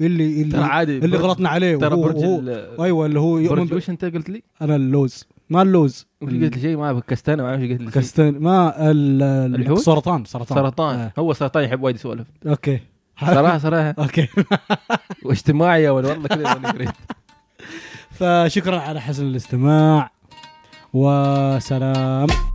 [SPEAKER 1] اللي
[SPEAKER 2] ترى
[SPEAKER 1] اللي
[SPEAKER 2] عادي
[SPEAKER 1] اللي
[SPEAKER 2] برج-
[SPEAKER 1] غلطنا عليه
[SPEAKER 2] ترى
[SPEAKER 1] وهو-
[SPEAKER 2] برج
[SPEAKER 1] وهو-
[SPEAKER 2] ال-
[SPEAKER 1] ايوه اللي هو يؤمن
[SPEAKER 2] برج
[SPEAKER 1] ب-
[SPEAKER 2] وش انت قلت لي؟
[SPEAKER 1] انا اللوز ما اللوز
[SPEAKER 2] وش قلت لي شيء ما أعرف، كستانة ما اعرف إيش قلت لي شيء.
[SPEAKER 1] كستن ما ال- ال-
[SPEAKER 2] الحوت؟
[SPEAKER 1] سرطان سرطان
[SPEAKER 2] سرطان
[SPEAKER 1] آه.
[SPEAKER 2] هو سرطان يحب وايد يسولف
[SPEAKER 1] اوكي
[SPEAKER 2] صراحه صراحه
[SPEAKER 1] اوكي
[SPEAKER 2] واجتماعي يا ولد، والله كذا ماني قريت.
[SPEAKER 1] فشكرا على حسن الاستماع وسلام